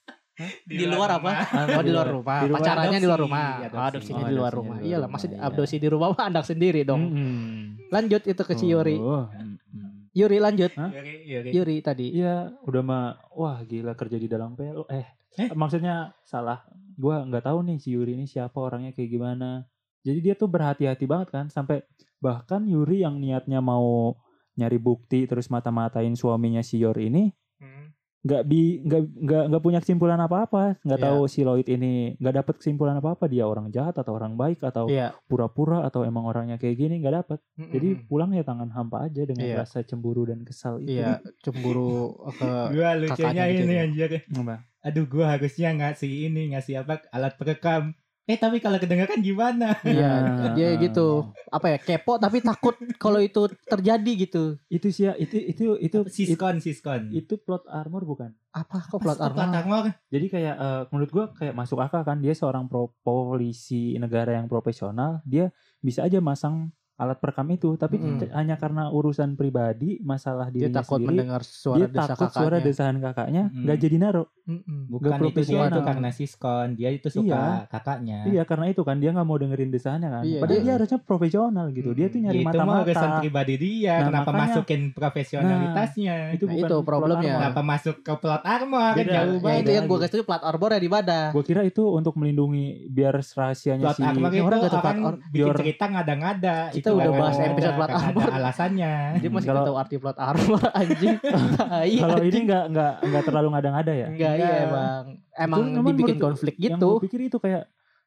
B: Di luar apa?
C: Ah,
B: Oh di luar rumah.
C: Di luar
B: Pacarannya di luar
D: adopsi.
B: rumah.
D: Adopsi.
B: Oh, adopsinya di luar
C: Oh, adopsinya
B: rumah.
C: di luar
B: Iyalah,
C: rumah,
B: masih
C: iya.
B: adopsi di rumah mah anak sendiri dong.
C: Mm-mm.
B: Lanjut itu ke si Yuri.
C: Oh, mm-mm.
B: Yuri lanjut.
D: Yuri, Yuri.
B: Yuri tadi.
C: Iya, udah mah wah gila kerja di dalam PLN. Eh,
D: Eh?
C: maksudnya salah. Gua nggak tahu nih si Yuri ini siapa orangnya kayak gimana. Jadi dia tuh berhati-hati banget kan sampai bahkan Yuri yang niatnya mau nyari bukti terus mata-matain suaminya si Yor ini nggak bi nggak nggak nggak punya kesimpulan apa-apa nggak
B: Iya.
C: tahu si Lloyd ini nggak dapat kesimpulan apa-apa dia orang jahat atau orang baik atau
B: Iya. Hmm.
C: pura-pura atau emang orangnya kayak gini nggak dapat jadi
B: Mm-mm.
C: pulang ya tangan hampa aja dengan
B: Iya.
C: rasa cemburu dan kesal itu
B: iya cemburu
C: (laughs)
B: ke
D: Gua lucunya
B: Kakaknya gitu
D: ini
B: ya.
D: anjir.
C: Apa?
D: Aduh gua harusnya ngasih ini, ngasih apa alat perekam. Eh tapi kalau kedengeran gimana?
B: Iya,
C: Nah,
B: dia gitu. Apa ya? Kepo tapi takut kalau itu terjadi gitu.
C: itu sih ya itu itu itu itu,
D: Siskon, siskon.
C: itu plot armor bukan
B: Apa kok plot
D: Apa,
B: armor?
D: armor.
C: jadi kayak eh, menurut gua kayak masuk akal kan dia seorang pro polisi negara yang profesional dia bisa aja masang alat perekam itu tapi
B: Mm.
C: c- hanya karena urusan pribadi masalah
B: Dia
C: dirinya
B: takut
C: sendiri
B: mendengar suara
C: Iya dia takut suara desahan kakaknya
D: Mm.
C: nggak jadi naro
B: Mm-mm.
C: Nggak
D: Bukan itu dia
C: profesional.
D: itu karena siskon, dia itu suka kakaknya.
C: iya karena itu kan dia nggak mau dengerin desahannya kan
B: Iya.
C: padahal dia
D: Iya.
C: harusnya profesional gitu dia tuh nyari
D: itu
C: mata
D: mah urusan
C: mata
D: pribadi dia,
C: Nah,
D: kenapa
C: makanya-
D: masukin profesionalitasnya?
C: itu
B: Nah,
C: bukan
B: itu
C: plot
B: problemnya.
C: armor.
D: Kenapa masuk ke plot armor?
C: Beda.
D: Jauh
B: Ya,
D: banget.
B: itu yang gue
C: lagi.
B: kasih tuh plat arbornya di badah.
C: Gua kira itu untuk melindungi biar rahasianya
D: Plot
C: si
D: armor itu
B: orang
D: orang,
B: nggak tahu plot
D: bikin
C: your-
D: cerita ngada-ngada.
B: Kita
D: Itu
B: udah
D: nggak
B: bahas
D: ada-
B: episode plot
D: nggak
B: armor.
D: Ada alasannya.
B: Dia masih
C: Kalau-
B: nggak tahu arti plot armor (laughs)
C: (laughs)
B: anjing. Tai,
C: kalau ini
B: anjing.
C: nggak nggak nggak terlalu ngada-ngada ya
B: enggak iya emang emang
C: Terus cuman
B: dibikin
C: menurut-
B: konflik
C: yang gue
B: gitu.
C: pikir itu kayak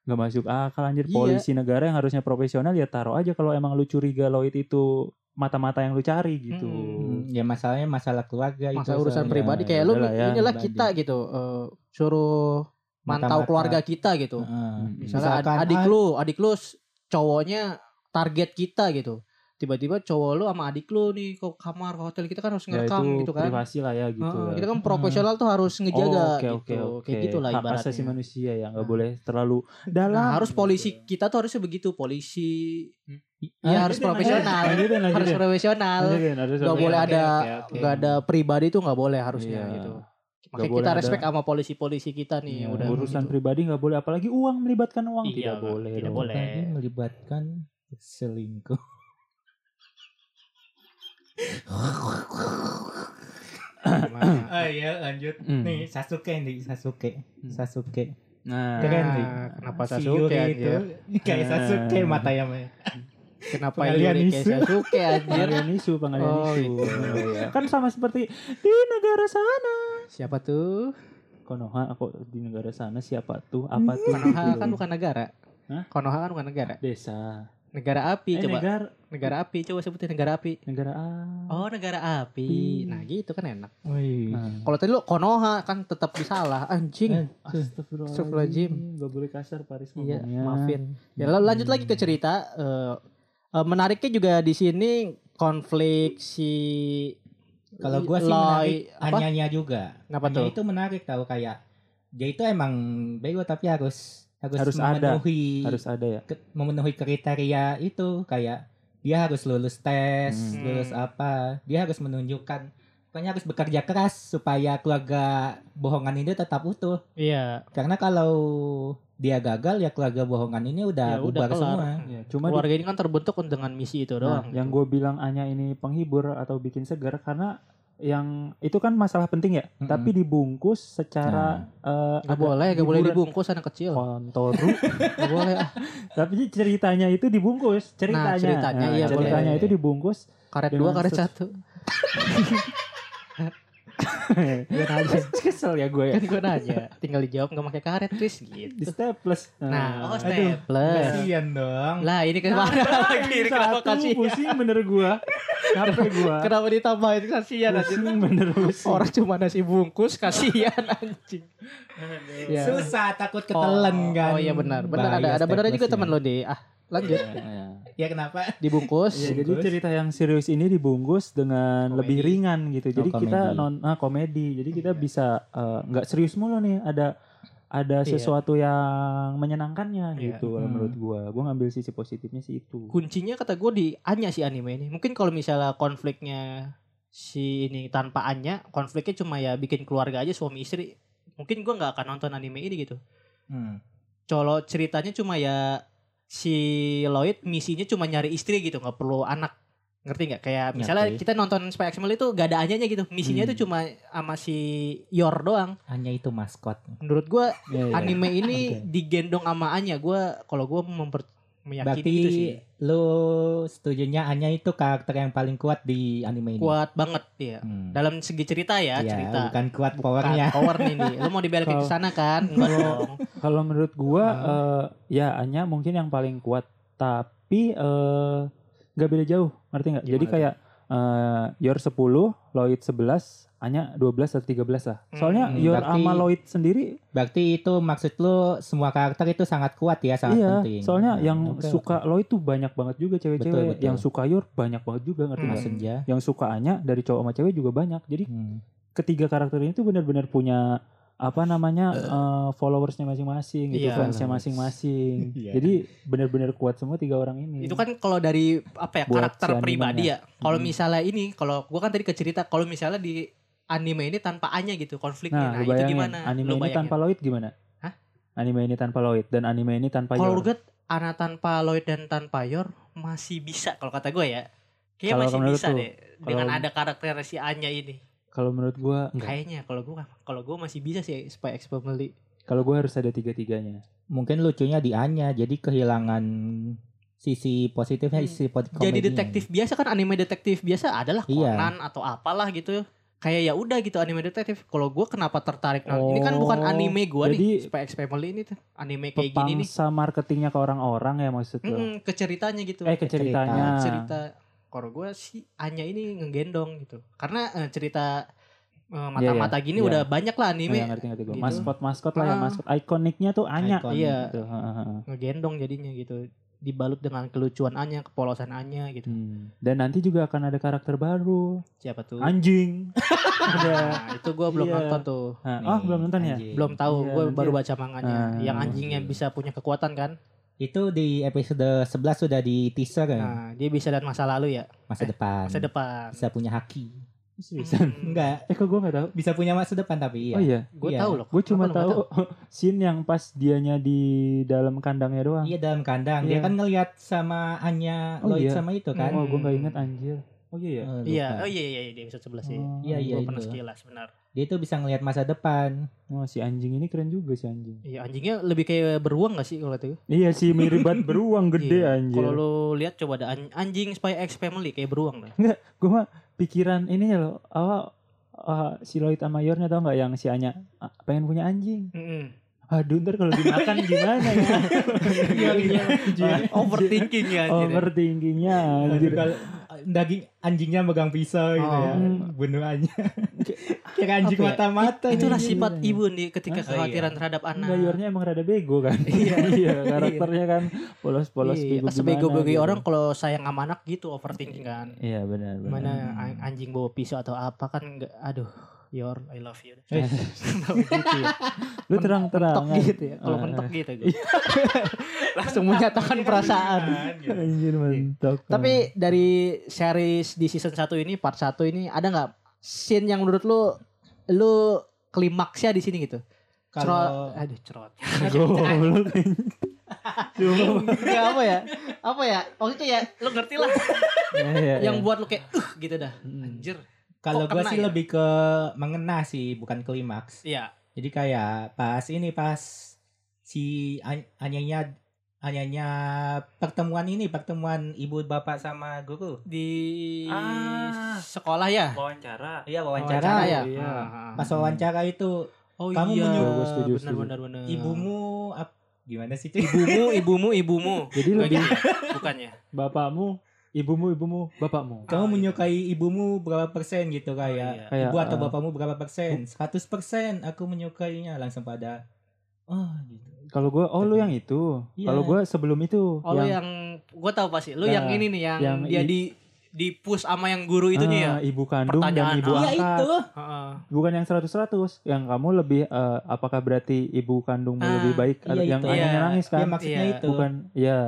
C: nggak masuk akal anjir
B: Iya.
C: polisi negara yang harusnya profesional ya taruh aja kalau emang lu curiga Lloyd itu mata-mata yang lu cari gitu
D: Mm-mm.
C: Mm.
D: ya masalahnya masalah keluarga gitu, ya. itu
B: Masa urusan
D: soalnya.
B: pribadi kayak lu
C: udahlah ya,
B: inilah
D: pribadi.
B: kita gitu eh, suruh mantau
D: Mata-mata.
B: keluarga kita gitu.
D: Heeh.
B: Misalnya ad-
D: Misalkan,
B: adik
D: ah,
B: lu, adik lu s- cowoknya target kita gitu. Tiba-tiba cowok lu sama adik lu nih ke kamar ke hotel kita kan harus
C: ya
B: ngerekam
C: itu
B: gitu kan.
C: privasi lah ya gitu
B: Heeh,
C: ya.
B: kita kan
D: Hmm.
B: profesional tuh harus ngejaga
C: Oh, oke,
B: gitu.
C: oke, oke.
B: Kayak gitu lah
C: Hak
B: ibaratnya.
C: asasi manusia ya nggak
B: Nah.
C: boleh terlalu dalam
B: Nah, harus polisi
D: gitu.
B: kita tuh harusnya begitu, polisi
C: Ah,
D: Hmm.
B: ya harus
C: lanjutin,
B: profesional.
C: lanjutin, lanjutin,
B: Harus
C: lanjutin.
B: profesional.
C: Lanjutin, harus
B: Gak
D: Oke,
B: boleh
D: oke,
B: ada
D: "Ah, oke, oke.
B: nggak ada pribadi tuh nggak boleh harusnya
C: Iya.
B: gitu.
C: Nggak
B: Makanya
C: boleh
B: kita
C: ada-
B: respect sama polisi-polisi kita nih yang
C: Iya,
B: udah
C: urusan
B: gitu.
C: pribadi nggak boleh apalagi uang melibatkan uang
B: Iya,
C: tidak boleh
B: tidak
C: dong.
B: boleh.
D: Tadi melibatkan selingkuh. (laughs)
B: Nah,
D: oh iya lanjut.
C: Mm.
D: Nih Sasuke nih Sasuke. Sasuke.
C: nah
D: Keren nih.
B: kenapa
D: Si
B: Sasuke
D: Yuri
B: anjir?
D: itu (laughs) kayak Sasuke mata yang
B: Kenapa
D: Pengalian
B: Yuri
D: isu.
B: kayak Sasuke anjir?
C: pengalian isu pengalian
B: Oh,
C: isu
B: gitu.
C: kan sama seperti di negara sana
B: Siapa tuh?
C: Konoha aku di negara sana siapa tuh apa tuh
B: Konoha
C: gitu
B: kan
C: loh.
B: bukan negara.
C: Hah?
B: Konoha kan bukan negara.
C: desa
B: Negara api
C: eh,
B: coba. Negara.
C: negara
B: api coba sebutin negara api.
C: negara A
B: Oh negara api.
C: Hmm.
B: Nah gitu kan enak.
D: Wih.
C: Nah.
B: Kalau tadi lu Konoha kan tetap bisa lah anjing. Ah, Astagfirullahaladzim.
C: Astagfirullahaladzim Gak boleh kasar Paris
B: Iya
C: ngomongnya. Hmm.
B: maafin. Ya lalu lanjut lagi ke cerita. Eh, eh, menariknya juga di sini konflik si
D: Kalau gua sih menarik
B: Loy- apa?
D: Anyanya juga.
B: Kenapa
D: Anya
B: tuh?
D: Nah, itu menarik tahu kayak dia itu emang bego tapi harus harus,
C: Harus ada.
D: memenuhi
C: Harus ada ya
D: ke- memenuhi kriteria itu kayak dia harus lulus tes,
C: Hmm.
D: lulus apa, dia harus menunjukkan pokoknya harus bekerja keras supaya keluarga bohongan ini tetap utuh.
B: Iya.
D: Karena kalau dia gagal ya keluarga bohongan ini udah
B: ya udah
D: bubar
B: kelar.
D: semua.
C: Ya, Cuma di-
B: Keluarga ini kan terbentuk dengan misi itu
C: nah,
B: doang.
C: Yang
B: gitu.
C: gue bilang Anya ini penghibur Atau bikin segar Karena yang itu kan masalah penting ya
D: Mm-mm.
C: Tapi dibungkus secara eh,
B: Gak
C: ada
B: Nah. boleh, gak boleh
C: hiburan.
B: dibungkus anak kecil. (laughs)
C: Kontoru
B: Gak boleh. ah. Nah,
C: Tapi ceritanya itu dibungkus Ceritanya Nah,
B: ceritanya, iya, boleh.
C: ceritanya itu dibungkus (laughs)
B: Karet dua,
C: Dengan
B: karet
C: ses-
B: satu.
C: Kesel ya gue ya
B: Kan gue nanya, tinggal dijawab gak pakai karet, Tris gitu.
C: Di staples
B: Nah, oh
D: aduh,
B: staples.
D: Kasian dong.
B: Lah ini kemana
D: Nah,
B: lagi? Ini Kenapa
C: Satu
B: kasihan?
C: pusing bener gua Kenapa gua
B: Kenapa ditambahin kasihan
D: Nah,
B: anjing?
C: Pusing bener pusing
B: Orang cuma nasi bungkus, kasihan anjing. Ya.
D: Susah takut ketelan
B: Oh,
D: kan.
B: Oh iya benar, benar ada
D: Bahaya
B: ada benar juga
D: stateless
B: teman
D: ini.
B: lo deh. Ah, lanjut.
D: Ya kenapa?
B: Dibungkus.
D: Iya.
C: Ya, jadi cerita yang serius ini dibungkus dengan
D: Komedi.
C: lebih ringan gitu. Jadi
D: Oh,
C: kita
D: komedi. Iya.
C: non ah, komedi. Jadi kita bisa eh, nggak serius mulu nih ada ada
B: Iya.
C: sesuatu yang menyenangkannya
B: Iya.
C: gitu kalau
D: Hmm.
C: menurut gua. Gua ngambil sisi positifnya sih itu.
B: Kuncinya kata gue di Anya si anime ini. Mungkin kalau misalnya konfliknya si ini tanpa Anya konfliknya cuma ya bikin keluarga aja suami istri mungkin gua nggak akan nonton anime ini gitu
D: Hmm.
B: colo ceritanya cuma ya si Lloyd misinya cuma nyari istri gitu nggak perlu anak ngerti nggak kayak misalnya
C: Ngerti.
B: kita nonton Spy X Family itu gak ada anyanya gitu misinya
C: Hmm.
B: itu cuma sama si Yor doang
D: Hanya itu maskot.
B: menurut gua
C: Iya, iya.
B: anime ini
D: (laughs) Oke.
B: digendong sama Anya gua kalau gua memper meyakini
D: Berarti
B: itu sih
D: lu setujunya Anya itu karakter yang paling kuat di anime ini.
B: kuat banget ya
D: Hmm.
B: dalam segi cerita ya,
D: Iya,
B: cerita
D: bukan kuat
B: Bukan
D: powernya.
B: power nih nih lu mau dibalikin ke
C: Kalau-
B: sana kan
D: (laughs)
B: enggak dong
C: Kalau menurut gua
D: Ah.
C: eh, ya Anya mungkin yang paling kuat tapi eh, nggak beda jauh, ngerti nggak? Jadi
B: Gimana tuh?
C: kayak eh, Yor 10, Lloyd 11, Anya 12 atau 13 lah. Soalnya
D: Hmm,
C: Yor
D: berarti-
C: sama Lloyd sendiri
D: Berarti itu maksud lu semua karakter itu sangat kuat ya, sangat
C: iya,
D: penting.
C: soalnya
D: Nah,
C: yang
D: oke,
C: suka Lloyd tuh banyak banget juga
D: Betul,
C: cewek-cewek,
D: betul.
C: yang suka Yor banyak banget juga ngerti
B: Hmm.
D: oke.
C: nggak?
D: maksudnya.
C: Yang suka Anya dari cowok sama cewek juga banyak. Jadi
D: Hmm.
C: ketiga karakter ini tuh benar-benar punya apa namanya eh, followersnya masing-masing gitu,
B: Iya.
C: fansnya
B: (laughs)
C: masing-masing.
D: Iya.
C: Jadi benar-benar kuat semua tiga orang ini.
B: itu kan kalau dari apa ya
C: Hmm. Buat
B: karakter
C: si animenya.
B: pribadi ya kalau
C: Mm.
B: misalnya ini kalau gua kan tadi kecerita kalau misalnya di anime ini tanpa Anya gitu konfliknya
C: Nah,
B: nah,
C: lu
B: itu
C: bayangin,
B: gimana
C: anime
B: Lu
C: ini
B: bayangin.
C: tanpa Lloyd gimana?
B: Hah?
C: Anime ini tanpa Lloyd dan anime ini tanpa
B: kalau
C: Yor.
B: lu gue Ana tanpa Lloyd dan tanpa Yor masih bisa kalau kata gue ya
C: Kalau
B: kayaknya masih
C: menurut
B: bisa
C: lu,
B: deh dengan
C: kalau-
B: ada karakter si Anya ini
C: Kalau menurut gua enggak.
B: kayaknya kalau gua kalau gua masih bisa sih Spy X Family
C: kalau gua harus ada tiga-tiganya.
D: Mungkin lucunya di Anya, jadi kehilangan sisi positifnya,
B: Hmm.
D: sisi positif
B: jadi detektif biasa kan anime detektif biasa adalah
D: Iya.
B: Conan atau apalah gitu kayak ya udah gitu anime detektif kalau gue kenapa tertarik nonton- ini kan bukan
C: Oh,
B: anime gue nih
C: jadi-
B: Spy X Family ini tuh anime kayak gini nih
C: Pangsa marketingnya ke orang-orang ya maksud lu.
B: Mm-mm, ke ceritanya gitu
C: Eh ke ceritanya.
B: cerita kalau gue sih Anya ini ngegendong gitu karena eh, cerita eh, mata-mata gini
C: iya.
B: udah banyak lah anime
C: Ya, ngerti ngerti gua.
B: gitu.
C: Maskot maskot lah ya
B: Ah.
C: maskot ikoniknya tuh Anya.
D: Icon.
B: Iya.
C: Gitu. ha, ha, ha.
B: ngegendong jadinya gitu dibalut dengan kelucuan Anya kepolosan Anya gitu
C: Hmm. Dan nanti juga akan ada karakter baru.
B: siapa tuh
C: Anjing. (laughs)
B: (laughs)
C: ada.
B: Nah, itu gue belum
C: Iya.
B: nonton tuh
C: Ah,
D: Nih,
C: oh, belum nonton ya?
D: anjing.
B: belum tahu
C: Iya,
B: gue
C: nanti
B: baru
C: ya.
B: baca manganya
C: Ah,
B: yang anjingnya
D: iya.
B: bisa punya kekuatan kan
D: Itu di episode 11 sudah di teaser ya,
B: nah dia bisa dan masa lalu ya
D: masa
B: eh,
D: depan.
B: masa depan
D: Hmm. Bisa punya haki.
C: Bisa.
B: Hmm.
D: Enggak,
C: Eh kok gue gak tahu?
D: bisa punya masa depan tapi iya.
C: Oh iya,
B: gue
D: Iya.
B: tahu loh
C: gue cuma
B: Kenapa lu nggak
C: tahu (laughs) scene yang pas dianya di dalam kandangnya doang.
D: Iya dalam kandang.
C: Iya.
D: Dia kan ngelihat sama Anya
C: Oh,
D: Lloyd
C: iya.
D: sama itu kan.
C: Oh, gue gak inget anjir. Oh iya ya.
D: Eh, lupa.
B: iya oh iya iya iya, di episode 11 sih
C: Oh,
D: Iya, iya.
B: gue pernah
D: itu.
B: sekilas benar
D: Dia itu bisa ngelihat masa depan.
C: Wah, Oh, si anjing ini keren juga si anjing.
B: iya anjingnya lebih kayak beruang gak sih kalau itu
C: Iya si mirip banget beruang gede
B: Iya.
C: anjir.
B: kalau lu lihat coba ada an- anjing Spy X Family kayak beruang lah
C: Gue mah pikiran ini ya loh. Awal ah, si Lloyd sama Yornya tau gak yang si Anya ah, pengen punya anjing.
B: Mm-mm.
C: Aduh ntar kalau dimakan gimana ya.
B: (laughs)
D: (laughs)
B: Iya, iya.
C: (laughs)
B: Wah, overthinking ya anjir
C: Overthinkingnya
D: Jadi
C: anjir.
D: kalau eh, daging anjingnya megang pisau gitu ya.
C: Oh.
D: Bunuh Anya.
B: (laughs)
D: Kira anjing
B: Apa ya?
D: mata-mata. nih.
B: itulah
C: Iya,
B: sifat
C: iya.
B: ibu nih ketika
D: Hah? Oh,
B: kekhawatiran
D: iya.
B: terhadap anak
C: Enggak, Yornya emang rada bego
B: (laughs)
C: kan. (laughs) Iya, karakternya kan polos-polos
B: Iya,
C: bego
B: sebego
C: gimana
B: bagi
C: gitu.
B: orang kalau sayang sama anak gitu overthinking kan.
C: Iya benar benar.
B: Mana an- anjing bawa pisau atau apa kan enggak aduh your I love (laughs) you.
D: Eh,
B: gitu ya.
C: Lu terang-terang.
B: Mentok gitu ya. Kalau
C: Ah.
B: mentok gitu gue. (laughs) Langsung menyatakan perasaan.
C: Anjir mentok.
B: ya. Iya.
C: (laughs)
B: Tapi dari series di season 1 ini part 1 ini ada nggak scene yang menurut lu lu klimaksnya di sini gitu?
D: Kalau
B: Cerot- aduh (laughs) cerot.
C: goblok. (laughs)
B: Enggak apa ya? Apa ya? Maksudnya ya lu ngerti lah
C: Iya,
B: yang buat lu kayak uh gitu dah.
C: Hmm.
B: Anjir.
D: kalau
B: Kok
D: gue
B: kena
D: sih
B: ya?
D: lebih ke mengena sih, bukan klimaks.
B: Iya.
D: Jadi kayak pas ini pas si an- Anyanya Anyanya pertemuan ini, pertemuan ibu bapak sama guru.
B: di
C: Ah.
B: sekolah ya
C: wawancara.
D: Iya
B: wawancara
D: wawancara.
B: ya
C: iya.
B: Ah.
D: Pas wawancara itu
B: oh
D: Kamu
B: iya
D: menyuruh-
C: Gua setuju,
B: benar
C: setuju.
B: benar benar
D: ibumu ap- gimana sih cuy?
B: ibumu ibumu ibumu
C: Jadi
B: Bukan
C: lebih
B: ya? bukan ya
C: bapakmu, ibumu, ibumu, bapakmu.
D: (laughs) Kamu
B: Ah, iya.
D: menyukai ibumu berapa persen gitu kayak
B: Iya.
C: Kayak,
D: ibu atau
C: eh,
D: bapakmu berapa persen? 100 persen aku menyukainya langsung pada oh gitu.
C: Kalau gua oh lu yang itu.
D: Iya.
C: Kalau gua sebelum itu
B: oh lu yang gue tahu pasti lu
C: Nah,
B: yang ini nih yang,
C: yang
B: dia
C: i-
B: di di push sama yang guru itunya ya
C: Ah, ibu kandung
B: Pertanyaan.
C: dan ibu
B: Iya,
D: Iya
C: angkat.
D: itu.
B: Heeh.
C: Bukan yang 100-100, yang kamu lebih eh, apakah berarti ibu kandungmu
B: Ah,
C: lebih baik
D: iya
C: yang
D: itu.
C: anaknya
B: Iya.
C: nangis
D: Ya
C: kan?
B: (laughs)
D: maksudnya
B: Iya.
D: itu.
C: Bukan ya.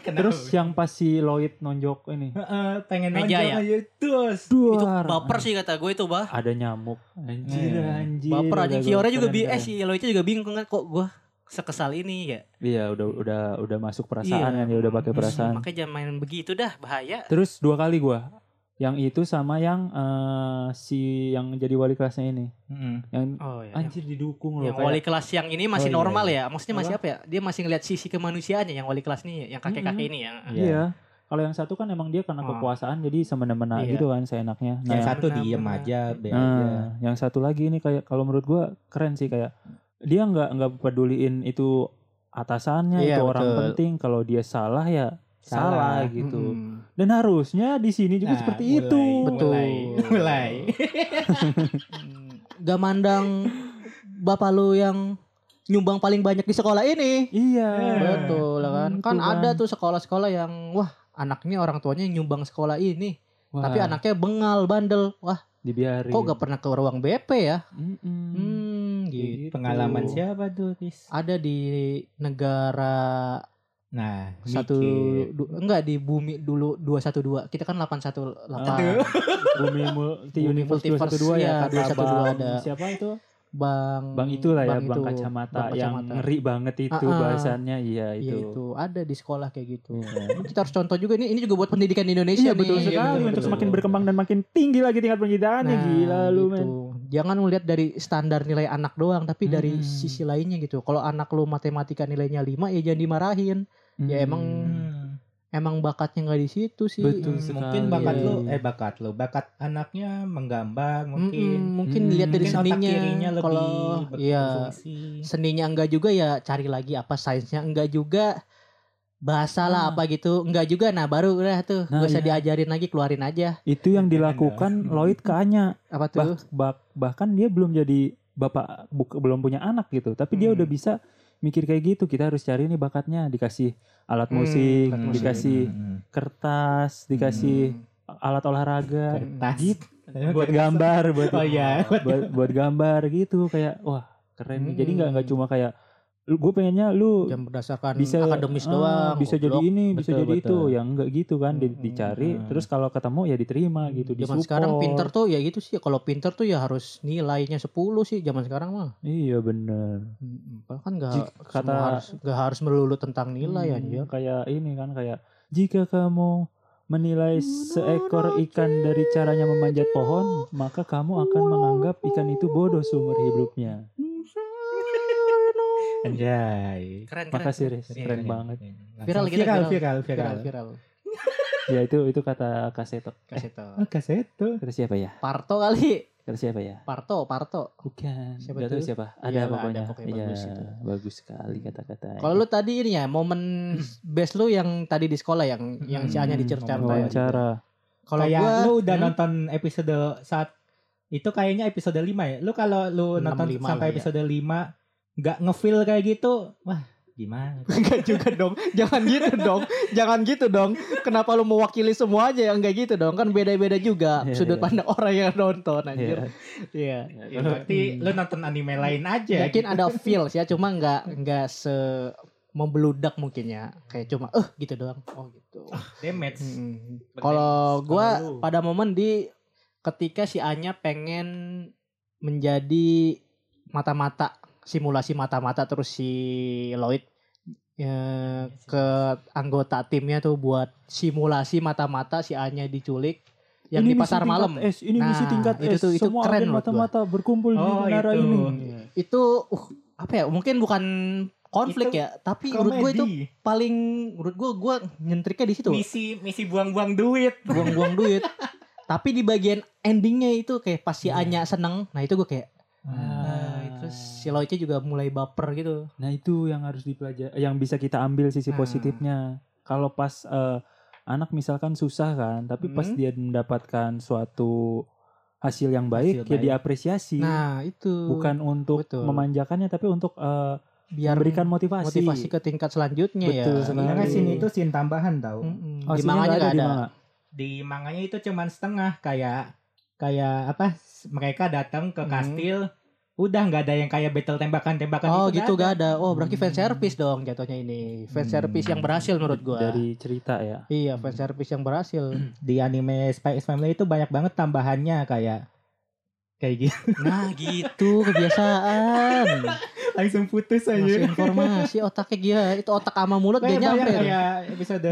D: Kenapa?
C: Terus yang pas si Lloyd nonjok ini.
D: Heeh, pengen
B: Meja
D: nonjol
B: ya?
D: aja terus.
B: Itu
C: Duar.
B: baper sih kata gue itu, bah.
C: Ada nyamuk. Anjir,
D: Iya.
C: anjir.
B: Baper aja
C: udah
B: Kiora
C: gue
B: juga
C: keren,
B: bi eh
C: keren.
B: si Lloydnya juga bingung kan kok gue sekesal ini ya.
C: Iya, udah udah udah masuk
B: Iya.
C: perasaan kan, dia udah pakai perasaan.
B: Makanya jangan main begitu dah, bahaya.
C: Terus dua kali gua. Yang itu sama yang eh, si yang jadi wali kelasnya ini.
D: Heeh.
C: Yang
B: Oh iya.
C: anjir didukung loh
B: Yang
C: kayak-
B: wali kelas yang ini masih
C: Oh, iya,
B: normal ya. Maksudnya masih
C: Apa?
B: apa ya? Dia masih ngelihat sisi kemanusiaannya yang wali kelas nih, yang kakek-kakek ini ya.
C: Iya. Kalau yang satu kan emang dia
B: Oh.
C: karena kekuasaan jadi semena-mena
B: Iya.
C: gitu kan seenaknya. Nah,
D: Yang satu
B: Benar,
D: diem
B: benar.
D: aja, be
C: Nah,
B: iya.
D: aja.
C: yang satu lagi ini kayak kalau menurut gua keren sih kayak dia nggak nggak peduliin itu atasannya
E: Iya,
C: itu orang
E: betul.
C: penting kalau dia salah ya salah,
E: Salah.
C: gitu.
B: Hmm.
C: Dan harusnya di sini juga
D: Nah,
C: seperti
D: mulai,
C: itu.
D: mulai, (laughs) Mulai.
B: Hmm. Gak mandang bapak lu yang nyumbang paling banyak di sekolah ini.
C: Iya.
B: Betul ya kan.
C: Itu
B: Kan
C: kan.
B: ada tuh sekolah-sekolah yang wah anaknya orang tuanya nyumbang sekolah ini,
C: Wah,
B: tapi anaknya bengal, bandel. Wah,
C: dibiarin.
B: kok gak pernah ke ruang BP ya?
C: Mm-mm.
B: Hmm, gitu.
C: Gitu.
D: Pengalaman siapa tuh, Riz?
B: Ada di negara
D: Nah,
B: satu
D: mikir.
B: du- enggak di bumi dulu 212. Kita kan 818.
D: Aduh.
B: (laughs)
C: Bumi multi
B: Bumi
C: universe
B: multiverse,
C: 212
B: iya,
C: ya, kata
B: 212
C: Bang
B: ada.
C: siapa itu?
B: Bang
C: Bang itulah ya, Bang
B: itu,
C: kacamata
B: Bang
C: yang
B: Kacamata.
C: ngeri banget
B: Ah,
C: itu
B: ah.
C: bahasannya. Iya,
B: Iya,
C: itu.
B: itu ada di sekolah kayak gitu.
C: Iya.
B: (laughs) Kita harus contoh juga ini ini juga buat pendidikan di Indonesia
C: Iya betul
B: nih. betul,
C: sekali untuk
B: betul.
C: semakin berkembang dan makin tinggi lagi tingkat penyidaannya
B: Nah,
C: gila lu men.
B: gitu. Jangan melihat dari standar nilai anak doang tapi dari
C: Hmm.
B: sisi lainnya gitu. Kalau anak lu matematika nilainya 5 ya jangan dimarahin. Ya, emang
C: Hmm.
D: Hmm.
B: Emang bakatnya nggak di situ sih. Mm,
C: Betul
D: Gitu. mungkin
C: sekali.
D: bakat lu eh bakat lu bakat anaknya
B: mm,
D: menggambar mungkin
B: mungkin
C: Mm.
B: lihat dari
D: mungkin otak
B: seninya.
D: kirinya lebih
B: Kalau iya
D: berfungsi.
B: seninya enggak juga ya cari lagi apa sainsnya enggak juga bahasa lah apa gitu enggak juga nah baru udah tuh
C: Hmm. Nah,
B: gak usah
C: iya.
B: diajarin lagi keluarin aja
C: Itu yang dilakukan Lloyd ke Anya.
B: apa
C: Bah-
B: tuh
C: bah- bahkan dia belum jadi bapak buk- belum punya anak gitu, tapi dia
D: Hmm.
C: udah bisa mikir kayak gitu. Kita harus cari nih bakatnya, dikasih alat
B: Hmm,
C: musik,
B: alat musik.
C: dikasih
D: Hmm,
C: kertas, dikasih
B: Hmm.
C: alat olahraga,
D: kertas
C: gitu.
D: Eh,
C: buat
D: kertas.
C: gambar, buat
D: (laughs) oh iya
C: buat, buat gambar gitu kayak wah keren
B: Hmm.
C: nih. Jadi nggak nggak cuma kayak gue pengennya lu
B: yang berdasarkan
C: bisa
B: Kan akademis
C: ah,
B: doang
C: bisa jadi
B: goblok.
C: ini bisa
E: Betul,
C: jadi itu
E: betul.
C: yang enggak gitu kan di-
B: Mm-mm.
C: dicari
D: Nah.
C: terus kalau ketemu ya diterima gitu
B: hmm. zaman
C: disupport
B: sekarang pinter tuh ya gitu sih kalau pinter tuh ya harus nilainya 10 sih zaman sekarang mah
C: iya bener
B: Padahal kan nggak
C: Jik-
B: semua
C: kata-
B: harus nggak harus melulu tentang nilai
C: Hmm,
B: anjir
C: kayak ini kan kayak jika kamu menilai seekor ikan dari caranya memanjat pohon maka kamu akan menganggap ikan itu bodoh seumur hidupnya
D: anjay
B: keren keren
C: makasih Riz
B: Iya,
C: keren
D: Iya,
C: banget
D: iya.
B: Viral
D: Langsung
B: kita,
D: viral
B: viral.
D: viral
B: viral
D: viral
B: viral
C: Eh. ya itu itu kata kaseto eh,
B: kasih tau
D: Oh, kaset tuh
C: kata siapa ya
B: Parto kali
C: kata siapa ya
B: Parto Parto
C: bukan
B: Siapa
C: Nggak tahu
B: tuh?
C: siapa
B: Iyalah,
C: ada
B: ada
C: pokoknya
B: pokoknya
C: Iya,
B: bagus itu.
C: bagus sekali kata-katanya
B: Kalau lu tadi ini ya
C: (laughs)
B: momen best lu yang tadi di sekolah yang yang si Anya
C: Hmm,
B: dicerca
C: wawancara
B: Kalau
D: kayak
B: gua
D: lu udah
B: hmm,
D: nonton episode saat itu kayaknya episode 5 ya lu kalau lu
B: Enam,
D: nonton
B: lima lah
D: sampai
B: ya.
D: episode 5 nggak ngefeel kayak gitu wah gimana
B: enggak juga dong. Jangan gitu dong. Jangan gitu dong. Kenapa lu mewakili semua aja yang enggak gitu dong? Kan beda-beda juga
C: Iya,
B: sudut
C: iya.
B: pandang orang yang nonton anjir.
C: Iya.
B: Iya.
D: Ya, berarti lu nonton anime lain aja
B: Yakin ada feels ya, cuma enggak enggak se membludak mungkin ya. Kayak cuma eh gitu doang. Oh gitu.
C: Ah.
B: Hmm.
D: damage
B: Mm-mm.
D: Berdamage.
B: Kalau gua
D: Kalau lu.
B: pada momen di ketika si Anya pengen menjadi mata-mata simulasi mata-mata terus si Lloyd eh, ke anggota timnya tuh buat simulasi mata-mata si Anya diculik yang
C: Ini eh.
B: di
C: misi
B: pasar
C: tingkat
B: malam.
C: S, ini misi
B: Nah,
C: tingkat
B: itu
C: S.
B: tuh- itu
C: Semua
B: keren
C: agen
B: menurut gua.
C: mata-mata berkumpul di
D: Oh,
C: menara
D: itu.
C: ini.
B: Itu uh, apa ya? Mungkin bukan konflik
D: Itu
B: ya, tapi menurut gue itu paling menurut gue gue nyentriknya di situ.
D: misi misi buang-buang duit
B: buang-buang duit. Tapi di bagian endingnya itu kayak pas si Anya seneng, nah itu gue kayak,
C: Ah,
B: ah, itu si Loice juga mulai baper gitu.
C: Nah itu yang harus dipelajari, eh, yang bisa kita ambil sisi
B: Nah.
C: positifnya. Kalau pas eh, anak misalkan susah kan, tapi pas
B: Hmm.
C: dia mendapatkan suatu hasil yang baik, ya
D: Hasil baik.
C: diapresiasi.
B: Nah itu
C: Bukan untuk
B: betul.
C: memanjakannya, tapi untuk eh,
B: biar
C: memberikan motivasi.
B: motivasi ke tingkat selanjutnya ya.
C: Betul sekali.
D: Karena
C: Iya.
D: scene itu scene tambahan tau
B: Mm-mm.
C: Oh,
B: di
C: sini
B: manganya
C: nggak
B: gak
C: di
B: ada.
C: manga.
D: Di manganya itu cuman setengah kayak kayak apa s- mereka datang ke
B: Hmm.
D: kastil Udah nggak ada yang kayak battle tembakan-tembakan
B: Oh
D: itu
B: gitu
D: nggak
B: gak ada. Oh berarti fan
C: Hmm.
B: service dong jatuhnya ini. Fan service yang berhasil menurut gua.
C: Dari Hmm. cerita ya.
B: Iya fan service yang berhasil.
F: Di anime Spy X Family itu banyak banget tambahannya kayak kayak gitu.
B: Nah gitu kebiasaan.
C: Iya.
D: ada. (laughs) Langsung putus
B: Masih
D: aja.
B: informasi otaknya gila. Itu otak sama mulut dia
C: Iya,
D: Kayak banyak
B: nyampe.
D: kayak episode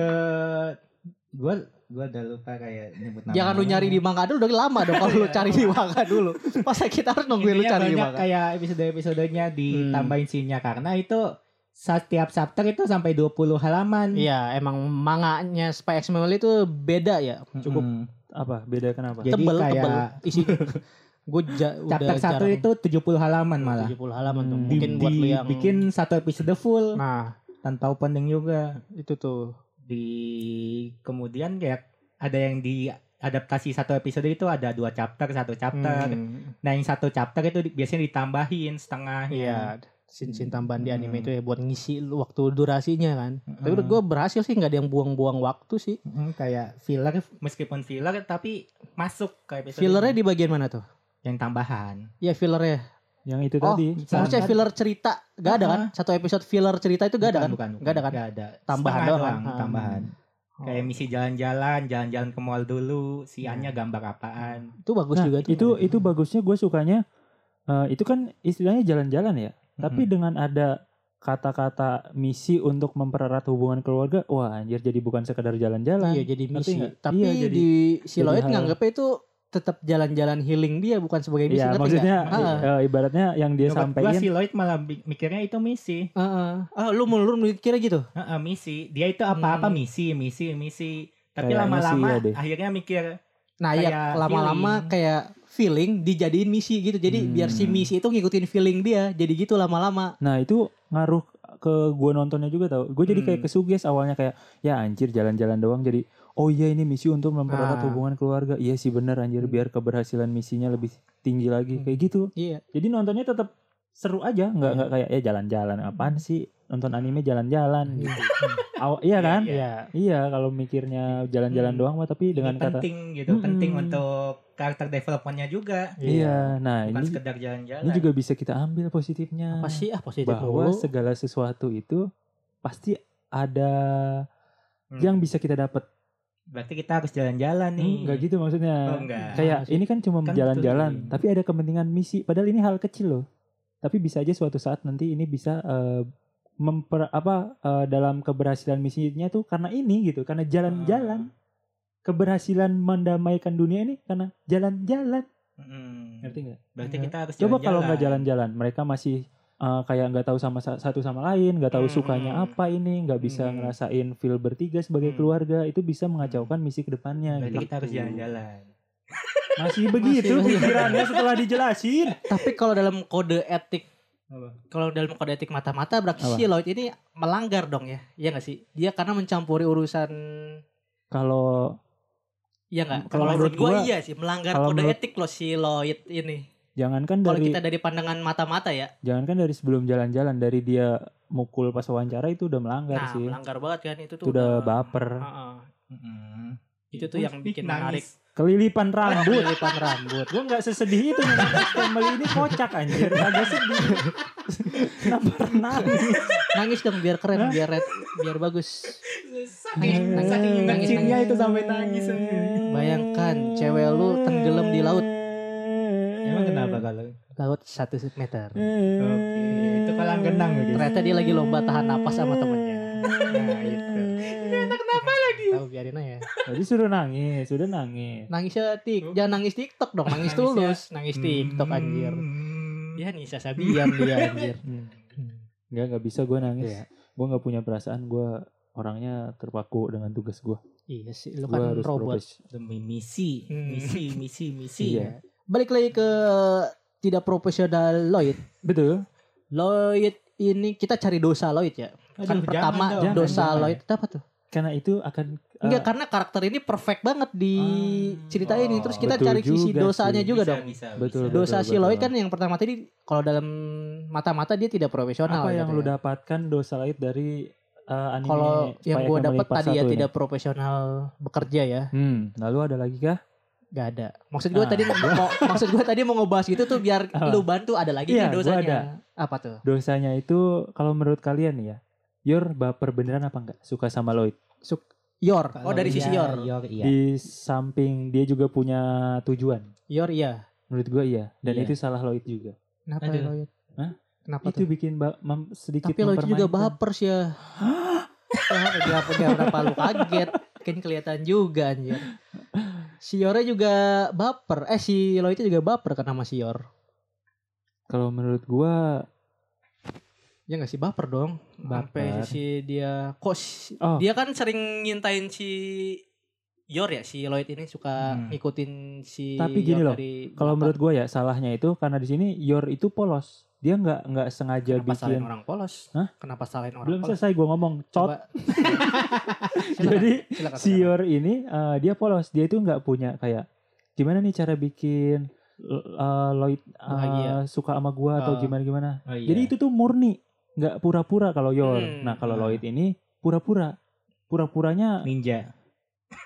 F: Gua gua udah lupa kayak nyebut nama.
B: Jangan lu nyari di Mangga dulu udah lama dong kalau lu cari di Mangga dulu. Masa kita harus nungguin lu
D: Intinya
B: cari di
D: banyak
B: Mangga?
D: kayak episode-episodenya ditambahin scene-nya karena itu setiap chapter itu sampai 20 halaman.
B: Iya, emang manganya Spy X Family itu beda ya. Cukup
D: Mm-mm.
C: Apa? Beda kenapa?
D: Jadi
B: tebel,
D: kayak
B: tebel
D: (laughs)
B: isinya. Gue ja, udah
D: chapter satu
B: jarang-
D: itu 70 halaman malah.
B: 70 halaman tuh.
C: Hmm.
B: Mungkin buat lu yang
D: Bikin satu episode full
B: Nah,
D: tanpa opening juga.
B: itu tuh.
D: Di kemudian kayak ada yang di adaptasi satu episode itu ada dua chapter, satu chapter.
B: Hmm.
D: Nah, yang satu chapter itu di- biasanya ditambahin setengahnya.
B: Iya, sin-sin tambahan di anime
D: Hmm.
B: itu ya buat ngisi lu waktu durasinya kan. Tapi menurut
D: Mm.
B: gue berhasil sih nggak ada yang buang-buang waktu sih.
D: Mm, kayak filler meskipun filler tapi masuk ke episode
B: Fillernya di
D: ini.
B: bagian mana tuh?
D: yang tambahan.
B: Ya fillernya.
C: Yang itu
B: Oh,
C: tadi.
D: Sangat.
B: Maksudnya filler cerita gak ada kan? Satu episode filler cerita itu gak ada kan?
D: Bukan, bukan,
B: Gak ada kan?
D: Gak ada.
B: Tambahan
D: Setengah
B: doang kan?
C: hmm.
B: Ah.
D: tambahan.
B: Oh.
D: Kayak misi jalan-jalan, jalan-jalan ke mall dulu,
C: Iya.
D: siannya gambar apaan.
B: Itu bagus
C: Nah,
B: juga tuh.
C: itu itu bagusnya gue sukanya eh, itu kan istilahnya jalan-jalan ya tapi dengan ada kata-kata misi untuk mempererat hubungan keluarga wah anjir jadi bukan sekedar jalan-jalan
B: Iya jadi
C: Ngerti
B: misi.
C: nggak?
B: Tapi
C: Iya, jadi-
B: di Siloid
C: hal-
B: nganggepnya itu tetap jalan-jalan healing dia bukan sebagai misi.
C: Iya,
B: ngerti
C: maksudnya
B: nggak? Ah, ya.
C: eh, ibaratnya yang dia
D: Menurut gua
C: sampaikan
D: si Lloyd malah bi- mikirnya itu misi.
B: ah, ah. Ah, lu mulur mikirnya gitu.
D: Heeh, misi. Dia itu apa-apa misi, misi, misi. Tapi
C: Hmm. Kayak
D: lama-lama
C: misi ya deh.
D: akhirnya mikir
B: Nah, ya
D: Kayak
B: lama-lama
D: feeling.
B: kayak feeling dijadiin misi gitu. Jadi biar si
C: Hmm.
B: misi itu ngikutin feeling dia. Jadi gitu lama-lama.
C: nah itu ngaruh ke gue nontonnya juga tau gue jadi
B: Mm.
C: kayak kesuges awalnya kayak ya anjir jalan-jalan doang jadi oh iya ini misi untuk mempererat
B: Ah. Mm.
C: hubungan keluarga iya sih bener anjir biar keberhasilan misinya lebih tinggi lagi
B: Hmm.
C: kayak gitu
B: Iya.
C: jadi nontonnya tetap seru aja nggak nggak kayak ya jalan-jalan apaan sih nonton anime jalan-jalan gitu. Aw- iya kan
D: Iya.
C: iya kalau mikirnya jalan-jalan
D: Hmm.
C: doang mah tapi
D: dengan
C: dengan kata
D: penting gitu, penting
C: Mm-mm.
D: untuk karakter developmentnya juga.
C: iya nah
D: Bukan
C: ini
D: sekedar
C: ini
D: jalan-jalan.
C: juga bisa kita ambil positifnya
B: Apa sih ah positif
C: bahwa
B: mulu.
C: segala sesuatu itu pasti ada
D: Hmm.
C: yang bisa kita dapat
D: Berarti kita harus jalan-jalan nih.
C: nggak gitu maksudnya
D: Oh, enggak.
C: kayak ini kan cuma
D: Kan
C: jalan-jalan
D: betul.
C: tapi ada kepentingan misi padahal ini hal kecil loh tapi bisa aja suatu saat nanti ini bisa eh, memper apa eh, dalam keberhasilan misinya tuh karena ini gitu karena
D: Ah.
C: jalan-jalan keberhasilan mendamaikan dunia ini karena jalan-jalan
D: Mm-mm.
C: ngerti nggak
D: Hmm. Berarti
B: Enggak.
D: kita harus
C: coba kalau nggak jalan-jalan mereka masih eh, kayak nggak tahu sama sa- satu sama lain nggak tahu
D: Hmm,
C: sukanya
D: hmm.
C: apa ini nggak bisa
D: Hmm.
C: ngerasain feel bertiga sebagai
D: Hmm.
C: keluarga itu bisa mengacaukan misi kedepannya
D: Berarti
C: gitu.
D: kita harus jalan-jalan.
C: masih begitu
B: Masih-
C: pikirannya setelah dijelasin
B: Tapi kalau dalam kode etik
D: Apa?
B: kalau dalam kode etik mata-mata berarti
C: Apa?
B: si Lloyd ini melanggar dong ya. Iya gak sih? Dia karena mencampuri urusan
C: kalau
B: Iya gak? Kalau
C: Kalau
B: menurut
C: menurut
B: gua
C: gua-
B: iya sih melanggar kode
C: kalau menurut-
B: etik loh si Lloyd ini.
C: jangankan
B: Kalau
C: dari
B: kita dari pandangan mata-mata ya.
C: jangankan dari sebelum jalan-jalan dari dia mukul pas wawancara itu udah melanggar
B: Nah,
C: sih
B: melanggar banget kan itu
C: itu
B: tuh.
C: udah baper
B: Heeh.
D: Mm-mm.
B: Itu tuh yang bikin menarik.
D: Mm-hmm. Nangis.
C: kelilipan rambut
B: Lipat rambut.
C: gue nggak sesedih itu nonton family ini kocak anjir agak sedih kenapa nangis
B: Nangis dong biar keren, biar red, biar bagus. Nangis, nangis,
D: Saking
B: nangis,
D: ngencinya
B: nangis.
D: itu sampai nangis. anjir.
B: Bayangkan cewek lu tenggelam di laut,
D: Emang kenapa kalau?
B: laut satu meter.
D: Oke, itu kolam renang gitu.
B: Ternyata dia lagi lomba tahan napas sama temennya.
D: Nah, itu.
B: Tahu biarin aja.
C: Tadi suruh nangis, sudah nangis.
B: Nangisnya tik, jangan nangis TikTok dong, nangis
D: Nangisnya-
B: tulus,
D: Hmm.
B: nangis TikTok anjir.
D: Mm-hmm.
B: Ya, Dia Nisa Sabian dia
C: (laughs)
B: anjir.
C: Enggak, enggak bisa gue nangis.
B: Iya.
C: Gue nggak punya perasaan, gue orangnya terpaku dengan tugas gue.
B: Iya sih, lu
C: Gue
B: kan
C: harus
B: robot.
C: profes-
D: Demi misi,
B: Hmm.
D: misi, misi, misi.
C: Iya.
B: Balik lagi ke tidak profesional Lloyd.
C: Betul.
B: Lloyd ini kita cari dosa Lloyd ya. Kan
D: Aduh,
B: pertama
D: jangan dong.
B: dosa
C: Jangan, jangan.
B: Lloyd itu apa tuh?
C: Karena itu akan eh,
B: Enggak karena karakter ini perfect banget di
C: Ah,
B: cerita ini. Terus kita
C: betul
B: cari sisi
C: juga
B: dosanya
C: sih.
B: juga
D: Bisa,
B: dong.
D: bisa,
C: Betul,
D: bisa.
C: betul.
B: Dosa si Lloyd kan yang pertama tadi kalau dalam mata-mata dia tidak profesional.
C: apa yang
B: gitu
C: lu
B: ya.
C: dapatkan dosa lain dari eh, anime
B: Kalau yang
C: Spy
B: gua
C: Family
B: dapat
C: Part
B: tadi ya
C: 1 ini?
B: tidak profesional bekerja ya.
C: Hmm, lalu ada lagi kah?
B: Gak ada. Maksud gue
C: Ah. (laughs)
B: tadi mau, maksud gue tadi mau ngebahas gitu tuh biar
C: Ah.
B: lu bantu ada lagi nih
C: Iya, gua
B: dosanya.
C: ada.
B: Apa tuh?
C: Dosanya itu kalau menurut kalian nih ya, Yor baper beneran apa enggak suka sama Lloyd?
B: Yor.
G: Kalau
B: Oh dari sisi
G: iya,
B: Yor.
G: Yor iya.
C: Di samping dia juga punya tujuan.
B: Yor iya.
C: Menurut gua iya, dan
G: Iya.
C: itu salah Lloyd juga.
B: Kenapa ya,
G: Aduh.
B: Lloyd?
C: Hah?
B: Kenapa
C: itu
B: tuh?
C: bikin ba- mem- sedikit
B: Tapi Lloyd juga
C: mempermainkan.
B: baper sih ya. Kenapa dia punya berapa lu kaget? Kan kelihatan juga anjir. Si Yornya juga baper. Eh si Lloyd juga baper karena sama si Yor.
C: Kalau menurut gua
B: Ya gak sih baper dong. Sampai
C: Baper.
B: si dia kok si-
C: Oh.
B: dia kan sering ngintain si Yor ya si Lloyd ini suka
G: Hmm.
B: ngikutin si
C: Tapi gini
B: Yor
C: loh,
B: dari belakang.
C: kalau menurut gua ya salahnya itu karena di sini Yor itu polos. Dia nggak nggak sengaja
B: kenapa
C: bikin
B: salin orang polos?
C: Hah?
B: Kenapa salin orang
C: belum
B: polos?
C: selesai gua ngomong
B: Coba- (laughs)
C: cot. Jadi
B: Silakan,
C: si
B: silakan.
C: Yor ini eh, dia polos dia itu nggak punya kayak gimana nih cara bikin eh, Lloyd eh,
B: Bahagia.
C: suka sama gua
B: Ah.
C: atau gimana gimana
G: Oh, iya.
C: jadi itu tuh murni nggak pura-pura kalau Yor
B: Hmm.
C: nah kalau
G: Ah.
C: Lloyd ini pura-pura pura-puranya
D: Iya.
G: ninja.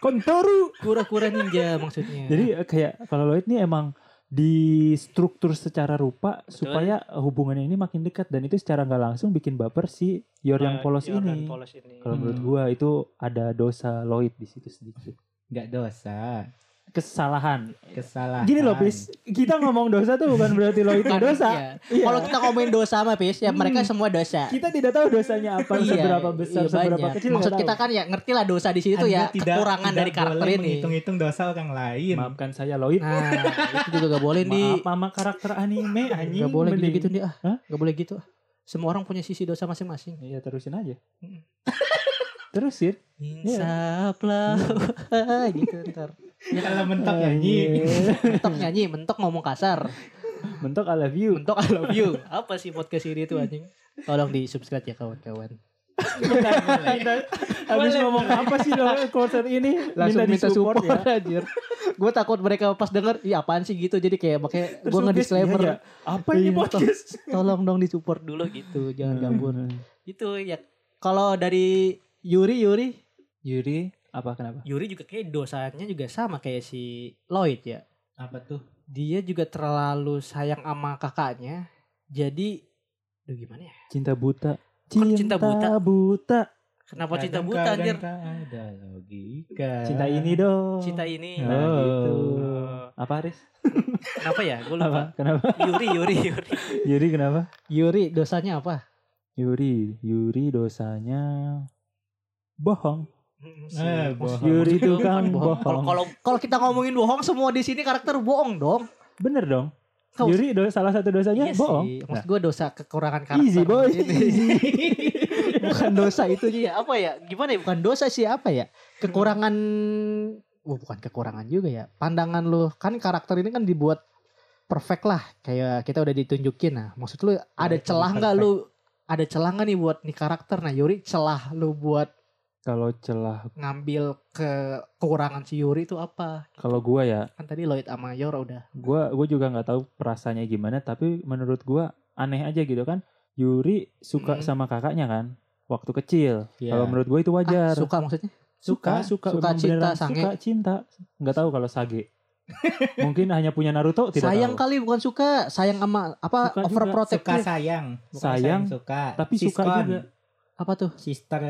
C: kontoru
B: kura-kura ninja maksudnya.
C: jadi eh, kayak kalau Lloyd ini emang di struktur secara rupa supaya hubungannya ini makin dekat dan itu secara nggak langsung bikin baper si Yor
B: Ah,
C: yang Iya, polos ini kalau menurut
G: Hmm.
C: gua itu ada dosa Lloyd di situ sedikit
G: Enggak dosa.
C: kesalahan
G: Kesalahan.
C: Gini loh, Pis. Kita ngomong dosa tuh bukan berarti lo itu
B: Bukan,
C: dosa.
B: iya.
C: Iya. Hmm.
B: Kalau kita ngomongin dosa sama Pis, ya mereka semua dosa.
C: Kita tidak tahu dosanya apa,
B: Iya,
C: seberapa besar,
B: iya,
C: seberapa
B: banyak.
C: kecil.
B: Maksud
C: nggak
B: kita
C: tahu.
B: kan ya ngerti lah dosa di situ tuh ya kekurangan dari karakter ini.
G: Hitung-hitung dosa orang
B: Iya.
G: lain.
C: maafkan saya Lloyd.
B: Nah, itu juga gak boleh di
C: Maaf mama karakter anime anjing.
B: gak boleh gitu
C: mending.
B: gitu nih ah.
C: Hah?
B: Gak boleh gitu. ah. Semua orang punya sisi dosa masing-masing.
C: Iya, terusin aja. (laughs)
B: Mm.
C: terusin.
B: (laughs) Insaplah gitu ntar.
G: Kalau mentok
B: ya,
C: Ah,
D: ya,
G: nyanyi.
C: iya.
B: Mentok nyanyi, mentok ngomong kasar.
C: Mentok I love you.
B: Mentok I love you. Apa sih podcast ini tuh anjing? Tolong di subscribe ya kawan-kawan.
C: Habis ngomong apa sih lo konser ini?
B: Langsung minta,
C: disupport ya.
B: support, anjir. Gue takut mereka pas denger, iya apaan sih gitu. Jadi kayak makanya
C: Terus
B: gue
C: lo guys,
B: nge-disclaimer.
C: iya, iya. Apa ini
B: Iya,
C: podcast? (laughs)
B: Tolong dong disupport dulu gitu, jangan gangguin.
C: Hmm.
B: Itu ya kalau dari Yuri Yuri
C: Yuri, apa kenapa?
B: Yuri juga kayak dosanya juga sama kayak si Lloyd ya.
G: Apa tuh?
B: Dia juga terlalu sayang sama kakaknya. Jadi aduh gimana ya?
C: Cinta buta.
B: Kok cinta buta?
C: buta.
B: Kenapa cinta
G: Kadang
B: buta anjir?
G: kadang tak Ada logika.
C: Cinta ini dong.
B: Cinta ini.
C: Nah,
G: Oh.
C: gitu.
B: Eh,
C: Apa Aris?
B: Kenapa ya? Gue
C: Apa?
B: lupa. (laughs)
C: Kenapa?
B: Yuri Yuri Yuri.
C: Yuri kenapa?
B: Yuri dosanya apa?
C: Yuri, Yuri dosanya bohong.
B: Hmm,
G: Eh, bohong.
C: Yuri
B: itu kan
C: tukang
B: Kalau
C: kan bohong.
B: kalau kalau kita ngomongin bohong semua di sini karakter bohong dong.
C: Bener dong.
B: Kau-
C: Yuri do- salah satu dosanya
B: Iya
C: bohong.
B: sih. Maksud gue dosa kekurangan
C: Nah,
B: karakter.
C: easy boy. Easy.
B: (laughs) bukan dosa itu ya apa ya gimana ya bukan dosa sih apa ya kekurangan Wah bukan kekurangan juga ya pandangan lu kan karakter ini kan dibuat perfect lah kayak kita udah ditunjukin nah maksud lu ada
C: Iya,
G: itu
B: celah nggak lu ada celah nggak nih buat nih karakter nah Yuri celah lu buat
C: Kalau celah,
B: ngambil ke kekurangan si Yuri itu apa
C: kalau gua ya,
B: kan tadi Lloyd sama Yor udah
C: gua gua juga nggak tahu perasaannya gimana, tapi menurut gua aneh aja gitu kan. Yuri suka
B: Mm.
C: sama kakaknya kan waktu kecil.
G: Iya.
C: Kalau menurut gue itu
B: Ah,
C: wajar.
B: suka maksudnya
C: suka suka
B: Suka
C: memang
B: cinta,
C: beneran
B: sange.
C: suka cinta nggak tahu kalau sage
B: (laughs)
C: mungkin hanya punya Naruto tidak
B: sayang
C: tahu
B: kali bukan suka sayang sama apa
C: Suka juga.
G: Suka
B: overprotective
G: sayang. Bukan
C: Sayang,
G: suka.
C: tapi suka
G: Siskon.
C: juga.
B: apa tuh
G: Sister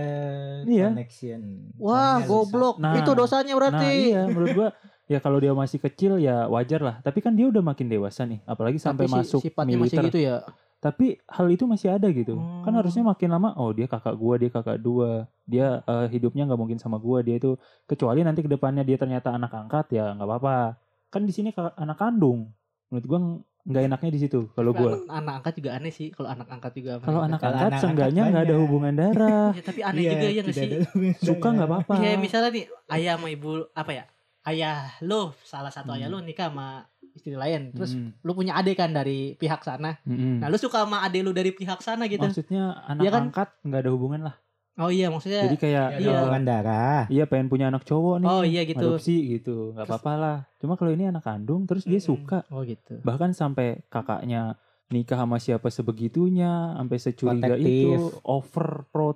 C: Iya.
G: connection.
B: wah
G: Soalnya
B: goblok
C: Nah,
B: itu dosanya
C: nah
B: berarti
C: iya menurut gua ya kalau dia masih kecil ya wajar lah tapi kan dia udah makin dewasa nih apalagi sampai
B: Tapi si-
C: masuk
B: sifatnya
C: militer
B: masih gitu ya
C: tapi hal itu masih ada gitu
B: Hmm.
C: kan harusnya makin lama oh dia kakak gua dia kakak dua dia eh, hidupnya nggak mungkin sama gua dia itu kecuali nanti kedepannya dia ternyata anak angkat ya nggak apa-apa kan di sini kakak- anak kandung menurut gua nggak enaknya di situ kalau gua
B: Anak, Kan anak angkat juga aneh sih kalau anak angkat juga
C: kalau anak Iya,
G: Kalau
C: angkat
G: anak
C: seenggaknya
G: angkat
C: nggak ada
G: banyak.
C: hubungan
B: (laughs)
C: darah
B: ya, tapi
D: Iya,
B: aneh juga ya nggak
G: tidak
B: sih
G: ada-
C: suka nggak apa-apa
B: kayak misalnya nih ayah sama ibu apa ya ayah lo salah satu ayah
C: Hmm.
B: lo nikah sama istri lain terus
C: Mm-mm.
B: lu punya adik kan dari pihak sana
C: Mm-mm.
B: nah lu suka sama adik lu dari pihak sana gitu
C: maksudnya anak
B: Iya kan?
C: angkat nggak ada hubungan lah
B: oh iya maksudnya
C: jadi kayak
G: Tidak ada
B: Iya.
C: eh,
G: hubungan darah.
C: iya pengen punya anak cowok nih
B: oh iya gitu
C: adopsi gitu nggak apa-apa lah cuma kalau ini anak kandung terus dia
B: Mm-mm.
C: suka
B: oh gitu
C: bahkan sampai kakaknya nikah sama siapa sebegitunya sampai securiga
G: Protektif.
C: itu over pro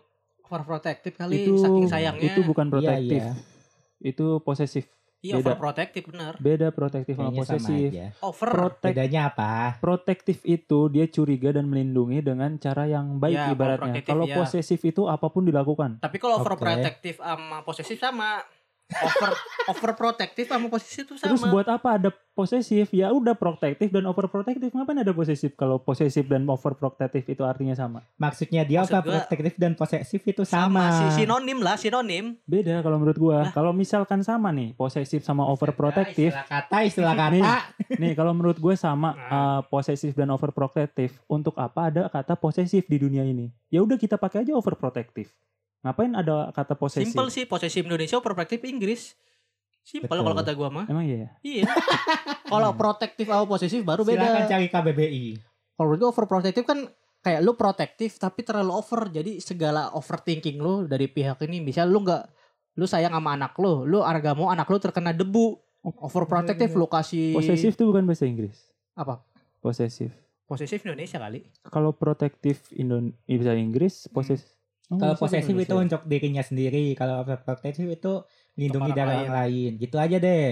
B: overprotective kali
C: itu
B: saking sayangnya
C: itu bukan protektif
G: Iya,
C: itu posesif
B: Iya,
C: Beda.
B: overprotective bener.
C: Beda protektif sama
D: Kayaknya sama
C: posesif.
D: aja.
B: Over.
C: Protek
D: Bedanya apa?
C: protektif itu dia curiga dan melindungi dengan cara yang baik
B: Ya, kalau
C: ibaratnya.
B: protektif,
C: Kalau
B: ya.
C: posesif itu apapun dilakukan.
B: Tapi kalau
D: Oke.
B: overprotective sama posesif sama. Over (laughs) overprotective sama posesif itu sama.
C: Terus buat apa ada posesif? Ya udah protektif dan overprotektif. Ngapain ada posesif kalau posesif dan overprotektif itu artinya sama?
D: Maksudnya dia
B: Maksud
D: apa?
B: gua-
D: Protektif dan posesif itu
B: sama
D: sama.
B: si- sinonim lah, sinonim.
C: Beda kalau menurut gua. Kalau misalkan sama nih, posesif sama overprotektif.
D: Istilah kata, istilah kata.
C: Nih, nih kalau menurut gue sama
B: Nah.
C: eh, posesif dan overprotective. Untuk apa ada kata posesif di dunia ini? Ya udah kita pakai aja overprotective. Ngapain ada kata posesif?
B: Simple sih posesif Indonesia, overprotective Inggris. Simple
D: Betul.
B: kalau kata gua mah.
C: Emang iya. ya? (laughs)
B: Iya. kalau protektif sama posesif baru
D: Silakan
B: beda.
D: cari KBBI.
B: Kalau menurut gua overprotective kan kayak lu protektif tapi terlalu over. Jadi segala overthinking lu dari pihak ini misalnya lu nggak lu sayang sama anak lu, lu harga mau anak lu terkena debu. Overprotective lu kasih
C: Iya, Posesif itu bukan bahasa Inggris.
B: Apa?
C: Posesif.
B: Posesif Indonesia kali.
C: Kalau protektif Indon eh, bahasa Inggris,
B: Hmm.
C: poses. Oh,
D: Kalau
C: bahasa
D: posesif itu
C: Indonesia.
D: untuk dirinya sendiri, kalau overprotective itu lindungi
B: orang
D: dari orang lain. Gitu aja deh.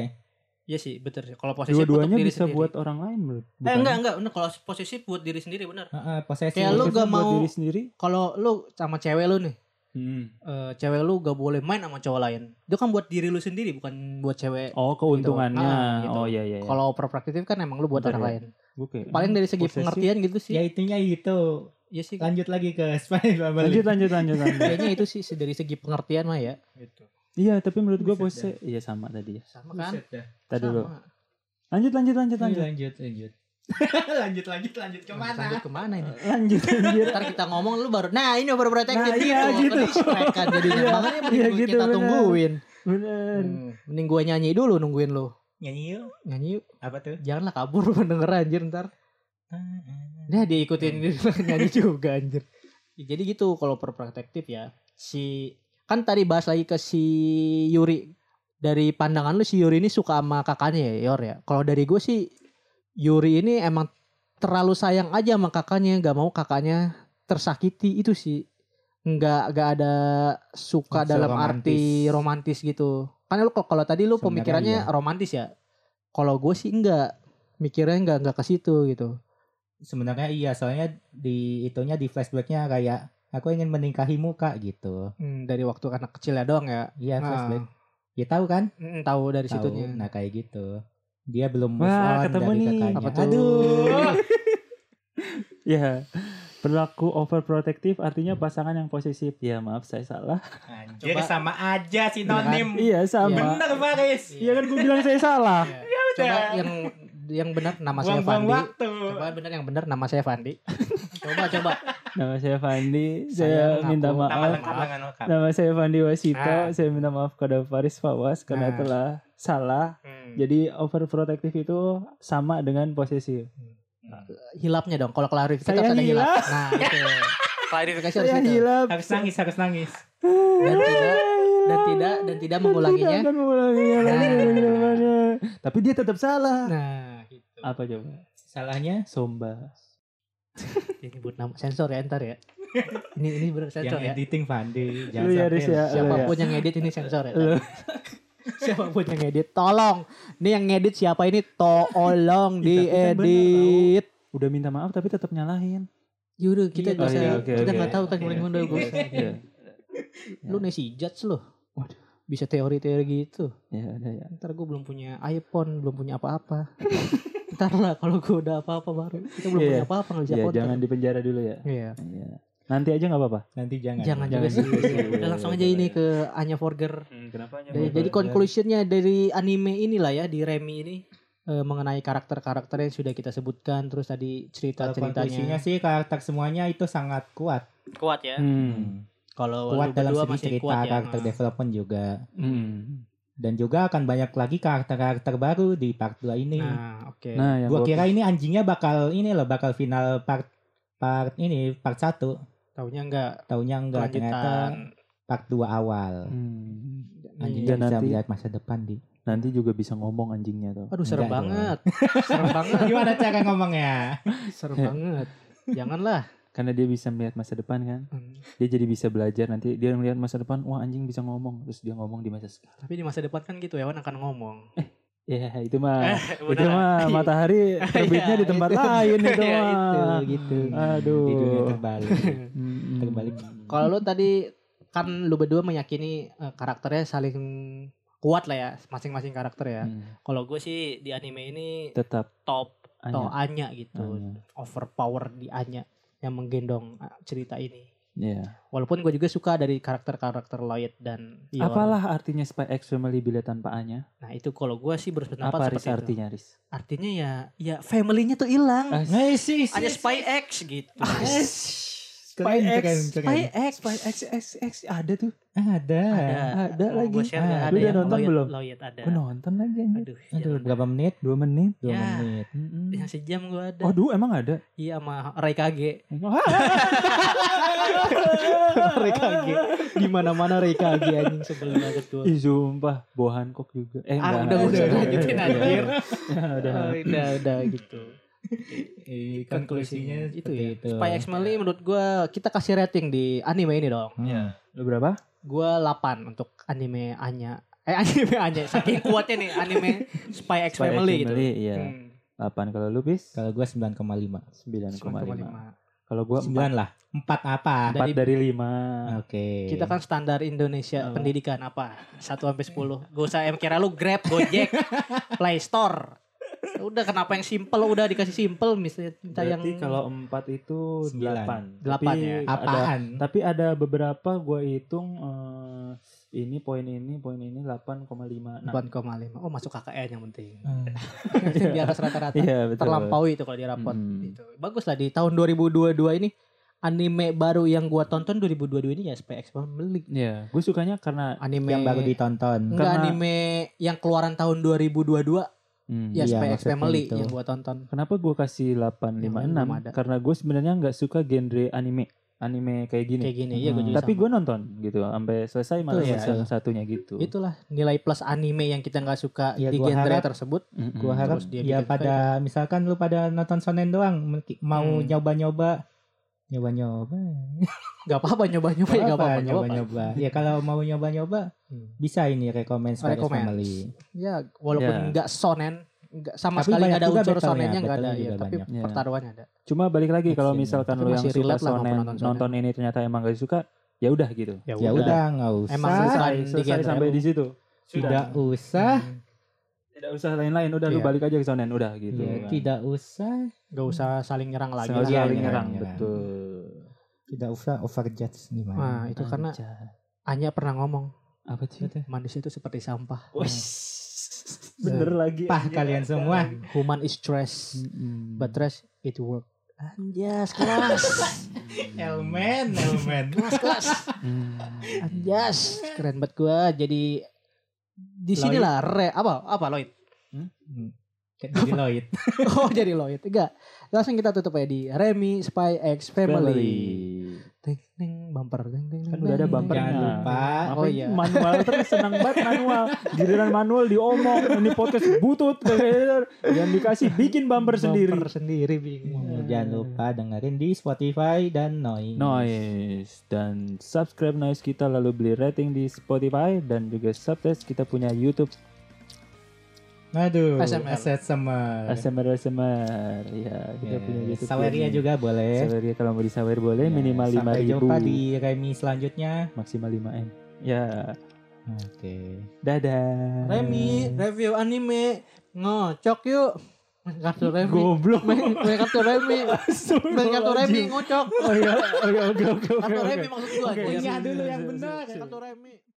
B: Iya sih, betul sih. Kalau posesif
C: Dua-duanya
B: untuk diri
C: bisa
B: sendiri.
C: buat orang lain menurut.
B: Eh enggak enggak, Bener, kalau posesif buat diri sendiri bener.
D: Heeh, posesif.
B: Kayak lu
C: Posesif
B: gak
C: buat
B: mau-
C: diri sendiri.
B: Kalau lu sama cewek lu nih
C: Hmm.
B: eh, cewek lu gak boleh main sama cowok lain. Itu kan buat diri lu sendiri bukan buat cewek.
C: Oh, keuntungannya.
B: Gitu. Ah, gitu.
C: Oh iya iya. iya.
B: Kalau overprotective kan emang lu buat
C: Bentar
B: orang lain.
C: ya. Oke.
B: Paling dari segi
C: Posesif. ya,
B: pengertian gitu sih.
D: Ya itunya itu.
B: Iya sih.
D: Lanjut lagi ke Spider
C: lanjut lanjut lanjut
B: (laughs)
C: lanjut.
B: Kayaknya itu sih se- dari segi pengertian mah ya.
D: Gitu.
C: Iya, tapi menurut gua
D: Buset
C: pose iya sama tadi ya.
B: Sama kan?
C: Tadi
B: Sama. Iya.
C: dulu. Lanjut lanjut lanjut
D: lanjut
C: lanjut.
D: lanjut lanjut. lanjut (laughs) lanjut lanjut
B: Lanjut
D: kemana?
B: kemana ini?
C: Lanjut (laughs) anjir.
B: Ntar kita ngomong lu baru Nah ini overprotective
C: Nah, iya, gitu.
B: Nanti strike kan jadinya
C: Iya,
B: Makanya
C: iya,
B: mending
C: gitu,
B: kita
C: benar.
B: tungguin
C: Bener.
B: Hmm, Mending gue nyanyi dulu nungguin lu
H: Nyanyi yuk.
B: Nyanyi yuk
H: Apa tuh?
B: Janganlah kabur (laughs) pendengar anjir ntar Nah diikutin nyanyi (laughs) juga anjir. Ya, Jadi gitu kalau perspektif ya. Si kan tadi bahas lagi ke si Yuri. Dari pandangan lu si Yuri ini suka sama kakaknya ya Yor ya. Kalau dari gue sih Yuri ini emang terlalu sayang aja sama kakaknya, nggak mau kakaknya tersakiti itu sih. Nggak nggak ada suka
D: Unsur
B: dalam arti
D: romantis.
B: romantis gitu. Kan lu kalau kalau tadi lu
D: Sebenarnya
B: pemikirannya
D: iya.
B: romantis ya. Kalau gue sih enggak mikirnya enggak enggak ke situ gitu.
D: Sebenarnya iya, soalnya di itunya di flashbacknya kayak aku ingin meningkahimu kak gitu.
B: Hmm, dari waktu anak kecil ya doang ya.
D: Iya
B: Nah.
D: flashback. Ya tahu kan?
B: Mm, tahu dari
D: Tahu.
B: situnya.
D: Nah kayak gitu. Dia belum move
C: Wah,
D: on
C: ketemu
D: dari
C: nih.
D: kakaknya.
B: Apa tuh?
D: iya. Aduh.
C: Ya, perilaku overprotective artinya pasangan yang posesif. Ya maaf saya salah.
D: Ah,
H: Anjir
B: Coba.
H: sama aja sinonim.
C: Iya sama.
H: Bener Faris.
C: Iya kan gue bilang saya salah.
B: Ah,
C: (laughs)
B: Coba yang yang benar nama saya
H: Buang-buang
B: Fandi.
H: waktu.
B: Coba benar yang benar nama saya Fandi. (laughs) coba coba.
C: Nama saya Fandi.
B: Saya mengaku.
C: Saya, minta
H: Nama
D: Iya.
C: maaf.
H: lengkap dengan lengkap.
C: Nama saya Fandi Wasito.
B: Nah.
C: Saya minta maaf kepada Faris Fawas karena
B: Nah.
C: telah salah.
B: Hmm.
C: Jadi overprotective itu sama dengan posesif.
B: Hilapnya dong. Kalau klarifikasi
C: Saya
B: harus ada hilap.
C: hilap.
B: Nah, itu. Klarifikasi harus
C: Saya
B: itu.
C: hilap.
H: Harus nangis, harus nangis.
B: Dan tidak dan tidak dan tidak mengulanginya.
C: Tidak akan mengulanginya lagi
B: Nah.
C: kedepannya. Tapi dia tetap salah.
B: Nah, gitu.
C: Apa coba?
D: Salahnya
C: Somba.
B: Ini buat nama sensor ya ntar ya. Ini ini benar
D: yang
B: sensor ya.
D: editing Fandi. Jangan
C: Lu ya,
D: sampai
C: Riz, ya. Lu ya.
B: Siapapun yang ngedit ini sensor ya. Tar.
C: Lu.
B: (laughs) Siapapun yang ngedit tolong. Ini yang ngedit siapa ini tolong
C: Ih, tapi kan bener,
B: diedit.
C: Udah minta maaf tapi tetap
B: (laughs)
C: nyalahin.
B: Yaudah kita
C: Iya,
B: nggak
C: oke,
B: usah
C: oke,
B: kita
C: oke.
B: nggak tahu kan kemarin mundur gue.
C: Iya.
B: Lu nih si judge lu. Waduh, bisa teori-teori gitu.
C: Ya, udah, ya.
B: Ntar gue belum punya iPhone, belum punya apa-apa. (laughs) Ntar lah kalau gue udah apa-apa baru. Kita belum
C: Iya.
B: punya apa-apa nggak bisa
C: Ya,
B: kontak.
C: jangan dipenjara dulu ya.
B: Iya.
C: Iya. Nanti aja nggak apa-apa.
D: Nanti jangan.
B: Jangan
C: Jangan
B: juga sih.
C: juga sih.
B: Udah langsung aja
C: Jangan,
B: ini
C: jangan.
B: ke Anya
C: Iya,
B: Forger.
C: kenapa
B: Jadi, jadi conclusionnya dari anime inilah ya di Remy ini eh, mengenai karakter-karakter yang sudah kita sebutkan terus tadi
D: Kalau konklusinya
B: cerita-ceritanya
D: sih karakter semuanya itu sangat kuat.
B: kuat ya.
C: Hmm.
B: Kalau
D: Kuat
B: lu
D: dalam
B: berdua
D: segi
B: masih
D: cerita,
B: kuat ya.
D: karakter development juga.
C: Hmm.
D: Dan juga akan banyak lagi karakter-karakter baru di part 2 ini.
B: Nah, oke.
C: Nah, yang
D: gua
C: gua-
D: kira ini anjingnya bakal ini loh, bakal final part part ini part 1.
B: Taunya enggak
D: Taunya enggak ternyata
B: kelanjutan.
D: part 2 awal.
C: Hmm.
B: Iya.
D: Anjingnya
C: Dan
D: bisa
C: nanti-
D: melihat masa depan di.
C: Nanti juga bisa ngomong anjingnya tuh.
B: Aduh serem
D: Enggak dong.
C: (laughs)
B: banget. serem banget. ya.
D: Gimana cara ngomongnya?
B: Serem banget. Janganlah.
C: Karena dia bisa melihat masa depan kan.
B: Hmm.
C: Dia jadi bisa belajar nanti dia melihat masa depan, wah anjing bisa ngomong, terus dia ngomong di masa sekarang.
B: Tapi di masa depan kan gitu Hewan akan ngomong.
C: Ya, itu mah itu
B: Eh, Beneran. (laughs) Iya.
C: mah matahari terbitnya di tempat lain itu
B: Ya,
C: mah.
D: gitu.
C: Aduh.
D: Di dunia terbalik.
C: Mm-mm.
D: Terbalik.
B: Kalau lu tadi kan lu berdua meyakini eh, karakternya saling kuat lah ya masing-masing karakter ya.
C: Hmm.
B: Kalau gue sih di anime ini
C: tetap
B: top atau
C: Anya.
B: Anya gitu,
C: Anya.
B: overpower di Anya yang menggendong eh, cerita ini.
C: Iya.
B: Walaupun gue juga suka dari karakter-karakter Lloyd dan Ion.
C: Apalah artinya Spy X Family bila tanpa Anya?
B: Nah itu kalau gue sih berpendapat
C: Apa Riz
B: seperti itu.
C: artinya Riz?
B: Artinya ya, ya family-nya tuh hilang.
C: Ah,
B: Ada Spy X gitu.
G: Keren, keren, keren.
B: Spy X.
C: Spy X X X ada tuh.
D: Ada.
C: Ada
B: Mau
C: lagi.
B: Gue share nggak?
C: Ah,
B: ada
C: lu udah
B: yang
C: nonton
B: Lloyd-
C: belum?
B: Lloyd ada.
C: Gue nonton lagi anjir.
B: Aduh,
D: Aduh,
B: aduh
D: berapa menit?
C: Dua menit.
D: Dua
B: Ya.
D: (laughs) menit.
B: Iya, kan. yang sejam gue ada.
C: Oh, dulu emang
B: (laughs)
C: ada.
B: Iya sama Rai Kage.
I: Rai Kage. Di mana-mana Rai Kage anjing sebelum banget gua.
C: Ih, sumpah, Bohan Kok juga. Eh,
B: Ah, udah
C: enggak, enggak,
B: gue usah
C: enggak,
B: lanjutin
C: enggak,
B: anjir.
C: enggak, iya. (laughs) udah.
B: Oh, udah, udah gitu.
G: Eh, konklusinya
B: Itu
G: seperti
B: ya.
G: itu.
B: Spy X Family menurut gue kita kasih rating di anime ini dong.
G: Iya.
C: Lu berapa?
B: Gue 8 untuk anime Anya. Eh (laughs) anime Anya. Saking kuatnya nih anime Spy X
C: Spy X
B: Family gitu.
C: Iya.
B: Hmm,
C: 8 kalau lu bis?
D: Kalau gua 9,5.
C: 9,5.
B: 9,5.
C: Kalau gua
D: 9
C: 4,
D: lah.
G: Empat apa?
C: 4
B: Dari-
C: dari 5.
D: Oke.
B: Kita kan standar Indonesia pendidikan apa? 1 sampai 10. Gak usah em kira lu Grab, Gojek, Play Store. Udah kenapa yang simple udah dikasih simple misalnya minta yang
C: Berarti kalau 4 itu
D: Sembilan.
C: 8.
B: Delapan ya.
C: Ada, Nah.
G: Apaan?
C: tapi ada beberapa gua hitung eh, ini poin ini, poin ini 8,56.
B: 8,5. Oh masuk KKN yang penting.
D: (laughs) Hmm.
B: Yang di atas rata-rata.
C: Iya, betul.
B: Terlampaui itu kalau di rapot.
C: Hmm.
B: Itu. Bagus lah di tahun 2022 ini anime baru yang gua tonton 2022 ini ya SPX Family.
C: Iya, gue sukanya karena
B: Anime
D: yang baru ditonton.
B: Enggak
C: Karena-
B: anime yang keluaran tahun 2022
C: Hmm.
B: ya
D: Iya,
B: SPX
D: maksudnya
B: Family
D: gitu.
B: yang gua tonton.
C: Kenapa gue kasih
B: Yang lain belum ada.
C: 856? Karena gue sebenarnya nggak suka genre anime, anime kayak gini.
B: Kayak gini, iya gua
D: Hmm.
B: juga
C: Tapi
B: sama.
C: gue nonton gitu, sampai selesai malah
B: Betul, iya.
C: salah satunya gitu.
B: Itulah nilai plus anime yang kita nggak suka
D: Ya,
B: di
D: gua
B: genre
D: harap-
B: tersebut.
C: Mm-mm.
D: Gua harap
B: Terus dia
D: ya
B: bikin
D: pada misalkan lu pada nonton shonen doang mungkin- mau
B: Hmm.
D: nyoba-nyoba nyoba-nyoba
B: Gak apa-apa nyoba-nyoba ya gak apa-apa. nggak apa-apa.
D: nyoba-nyoba ya kalau mau nyoba-nyoba
B: Hmm.
D: bisa ini rekomend Spy X
B: Recommend.
D: Family
B: Ya walaupun
C: Ya.
B: nggak sonen, nggak sama
D: Tapi
B: sekali
D: banyak
B: nggak ada
D: juga
B: unsur
D: battle-nya,
B: sonennya nggak ada,
D: battle-nya
B: ya,
D: juga
B: tapi
D: banyak.
C: Iya.
B: pertaruannya ada.
C: Cuma balik lagi kalau
D: Action.
C: misalkan
B: Tapi
C: lo yang
B: masih
C: suka
B: relate lah sama
C: shonen,
B: penonton shonen.
C: nonton ini ternyata emang gak suka, ya udah gitu.
D: ya udah nggak usah
B: Emang selesai di
C: selesai
B: genre
C: sampai
B: lu.
C: di situ.
D: tidak usah
B: Hmm.
C: Tidak usah lain-lain, udah lu
D: Iya.
C: balik aja ke shonen, udah gitu.
D: ya,
C: kan.
D: tidak usah
B: Gak usah saling nyerang Iya, lagi.
C: Sengaja
B: lah.
C: saling
D: Iya,
C: nyerang,
D: iya.
C: betul.
D: tidak usah overjudge
B: Nah,
D: gimana
B: itu karena
C: Aja.
B: Anya pernah ngomong
C: apa sih?
B: manusia itu seperti sampah.
C: Wes. Bener lagi.
G: Pah
C: anjir.
G: kalian semua.
B: Human is trash,
C: Mm-mm.
B: but trash it work. Anjas kelas,
G: Elmen,
D: (laughs)
G: Elmen.
B: kelas,
C: Mm.
B: anjas. Keren banget gua. Jadi di sinilah re apa apa Lloyd.
D: Hmm.
G: Jadi Lloyd.
B: (laughs) Oh jadi Lloyd. Enggak. Langsung kita tutup ya di Remy Spy X Family. Teng teng bumper teng teng.
C: Kan udah ada bumpernya.
G: Jangan lupa.
B: Oh
C: Apa
B: iya.
C: manual terus senang banget manual. Giliran manual diomong ini podcast butut yang dikasih bikin bumper sendiri.
B: Bumper sendiri bingung.
D: Iya. jangan lupa dengerin di Spotify dan Noi
C: Noise dan subscribe noise kita lalu beli rating di Spotify dan juga subtest kita punya YouTube
G: Aduh,
B: ASMR.
G: aset
C: Oh,
G: sama.
C: ASMR ASMR ya kita punya YouTube
D: Saweria
C: ini.
D: juga boleh
C: Saweria kalau mau disawer boleh
D: Ya,
C: minimal lima
D: sampai
C: ribu
D: jumpa di Remi selanjutnya
C: maksimal 5 m ya
D: oke
C: dadah
B: Remy review anime ngocok yuk. Main kartu Remy.
C: goblok
B: Main, main kartu Remy. Main kartu Remy ngocok.
C: oh ya oh ya oke oke oke
B: Kartu
C: oke.
B: Remy maksud gua.
C: Oke.
B: anjing.
G: Punya dulu yang benar.
B: Kartu Remy.